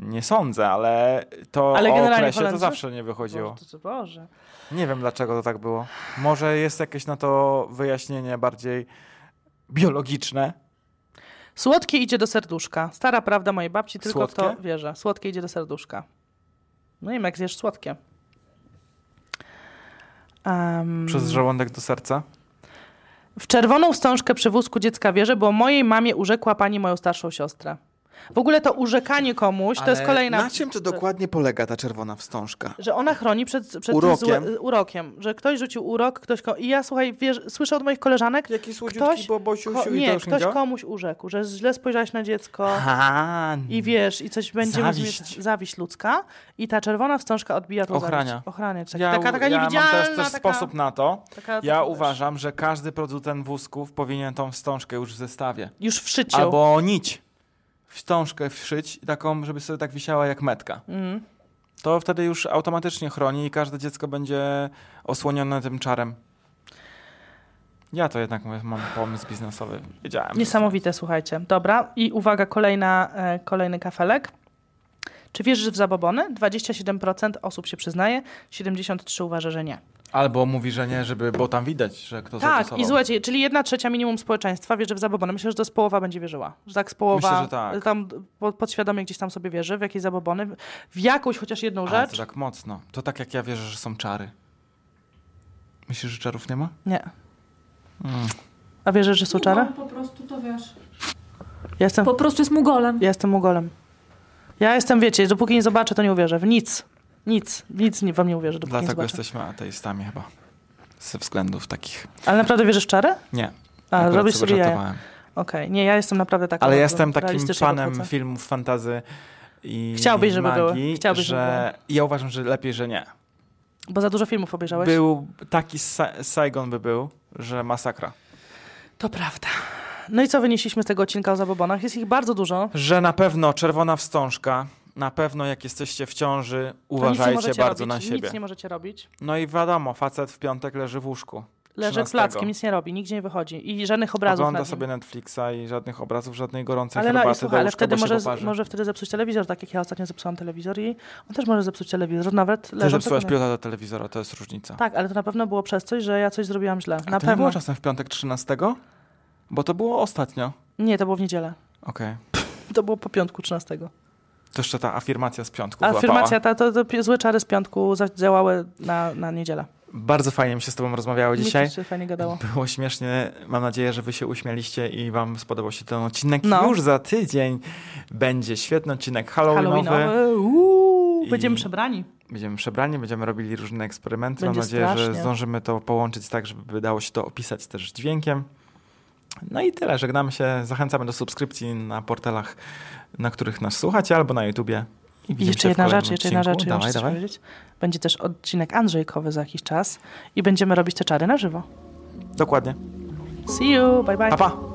S1: Nie sądzę, ale to
S2: Ale
S1: o
S2: generalnie
S1: okresie to
S2: Holendrzy? No,
S1: zawsze nie wychodziło.
S2: Boże, Boże.
S1: Nie wiem, dlaczego to tak było. Może jest jakieś na to wyjaśnienie bardziej biologiczne.
S2: Słodkie idzie do serduszka. Stara prawda mojej babci, tylko kto
S1: Słodkie?
S2: wierzy. Słodkie idzie do serduszka. No i jak zjesz słodkie. Em,
S1: Przez żołądek do serca.
S2: w czerwoną wstążkę przy wózku dziecka wierzę, bo mojej mamie urzekła pani moją starszą siostrę. W ogóle to urzekanie komuś, to jest kolejna...
S1: Na czym to dokładnie polega ta czerwona wstążka?
S2: Że ona chroni przed, przed tym
S1: Urokiem.
S2: złe- urokiem. Że ktoś rzucił urok, ktoś... Ko- I ja, słuchaj, wiesz, słyszę od moich koleżanek,
S1: Jaki słodziutki
S2: Ktoś-
S1: bobosiusiu
S2: ko-
S1: i no. to
S2: nie,
S1: już
S2: ktoś
S1: nie działa?
S2: komuś urzekł, że źle spojrzałeś na dziecko...
S1: Aha,
S2: I wiesz, i coś będzie
S1: Zawiść.
S2: zawiść, zawiść ludzka, i ta czerwona wstążka odbija to
S1: Ochrania.
S2: Zawiść. Ochrania. Tak,
S1: ja,
S2: taka taka
S1: ja mam
S2: niewidzialna.
S1: też, też
S2: taka, No
S1: sposób na to.
S2: taka- taka,
S1: Ja
S2: wiesz,
S1: uważam, że każdy producent wózków powinien tą wstążkę już w zestawie.
S2: Już w szyciu.
S1: Albo nić. Wstążkę wszyć i taką, żeby sobie tak wisiała jak metka.
S2: Mm.
S1: To wtedy już automatycznie chroni i każde dziecko będzie osłonione tym czarem. Ja to jednak mówię, mam pomysł biznesowy. Wiedziałem. że-
S2: Niesamowite, słuchajcie. Dobra, i uwaga, kolejna, e, kolejny kafelek. Czy wierzysz w zabobony? 27% osób się przyznaje, 73% uważa, że nie.
S1: Albo mówi, że nie, żeby, bo tam widać, że kto
S2: tak,
S1: zagłosował.
S2: i słuchajcie, czyli jedna trzecia minimum społeczeństwa wierzy w zabobony. Myślę, że to z połowa będzie wierzyła. Że tak z połowa,
S1: Myślę, że tak.
S2: tam po- podświadomie gdzieś tam sobie wierzy, w jakieś zabobony, w jakąś chociaż jedną
S1: Ale
S2: rzecz.
S1: to tak mocno. To tak jak ja wierzę, że są czary. Myślisz, że czarów nie ma?
S2: Nie.
S1: Mm.
S2: A wierzysz, że są czary?
S4: Mugol Po prostu to wiesz.
S2: Ja jestem,
S4: No. Po prostu jest mugolem.
S2: ja jestem mugolem. Ja jestem, wiecie, dopóki nie zobaczę, to nie uwierzę. W nic. Nic. Nic nie, wam nie uwierzę, dopóki nie
S1: Dlatego
S2: zobaczę.
S1: jesteśmy ateistami chyba. Ze względów takich.
S2: Ale naprawdę wierzysz w czary?
S1: Nie.
S2: A,
S1: Akurat
S2: robisz sobie jaja. Okej.
S1: żartowałem.
S2: Nie, ja jestem naprawdę taka.
S1: Ale
S2: bardzo
S1: jestem takim
S2: realistycznie
S1: fanem
S2: podchodzę.
S1: filmów fantazy i
S2: Chciałbyś, żeby
S1: magii,
S2: były. No Chciałbyś, żeby
S1: że ja uważam, że lepiej, że nie.
S2: Bo za dużo filmów obejrzałeś.
S1: Był taki Sa- Saigon by był, że masakra.
S2: To prawda. No i co wynieśliśmy z tego odcinka o zabobonach? Jest ich bardzo dużo.
S1: Że na pewno czerwona wstążka, na pewno jak jesteście w ciąży,
S2: To nic nie
S1: uważajcie
S2: możecie
S1: bardzo
S2: robić.
S1: na siebie.
S2: Nic nie możecie robić.
S1: No i wiadomo, facet w piątek leży w łóżku.
S2: Leży
S1: 13.
S2: plackiem, nic nie robi, nigdzie nie wychodzi. I żadnych obrazów
S1: Ogląda
S2: nad nim.
S1: sobie Netflixa i żadnych obrazów, żadnej gorącej
S2: Ale,
S1: herbaty
S2: no, i słuchaj,
S1: do
S2: ale
S1: łóżka,
S2: wtedy
S1: bo
S2: może,
S1: się poparzy.
S2: może wtedy zepsuć telewizor, tak jak ja ostatnio zepsułam telewizor i on też może zepsuć telewizor, nawet
S1: Ty
S2: leżąc
S1: zepsułaś
S2: ogólnie.
S1: pilota do telewizora, to jest różnica.
S2: Tak, ale to na pewno było przez coś, że ja coś zrobiłam źle.
S1: A
S2: na
S1: to nie
S2: pewno.
S1: było czasem w piątek 13? Bo to było ostatnio.
S2: Nie, to było w niedzielę.
S1: Okej.
S2: To było po piątku 13.
S1: To jeszcze ta afirmacja z piątku
S2: Afirmacja,
S1: złapała.
S2: ta, to, to pi- złe czary z piątku zadziałały na, na niedzielę.
S1: Bardzo fajnie mi się z tobą rozmawiało
S2: Mi
S1: dzisiaj.
S2: też się fajnie gadało.
S1: Było śmiesznie. Mam nadzieję, że wy się uśmialiście i wam spodobał się ten odcinek.
S2: No.
S1: Już za tydzień będzie świetny odcinek halloweenowy.
S2: Halloweenowy. Uuu,
S1: I-
S2: Będziemy przebrani.
S1: Będziemy przebrani, będziemy robili różne eksperymenty.
S2: Będzie
S1: Mam nadzieję,
S2: strasznie.
S1: że zdążymy to połączyć tak, żeby dało się to opisać też dźwiękiem. No i tyle. Żegnamy się. Zachęcamy do subskrypcji na portalach, na których nas słuchacie, albo na YouTubie. I
S2: I
S1: widzimy
S2: jeszcze
S1: się w
S2: jedna
S1: kolejnym
S2: rzecz, jeszcze jedna
S1: odcinku.
S2: rzecz, ja muszę
S1: Dawaj,
S2: coś
S1: dawaj.
S2: powiedzieć. Będzie też odcinek Andrzejkowy za jakiś czas i będziemy robić te czary na żywo.
S1: Dokładnie.
S2: See you, bye bye.
S1: Pa, pa.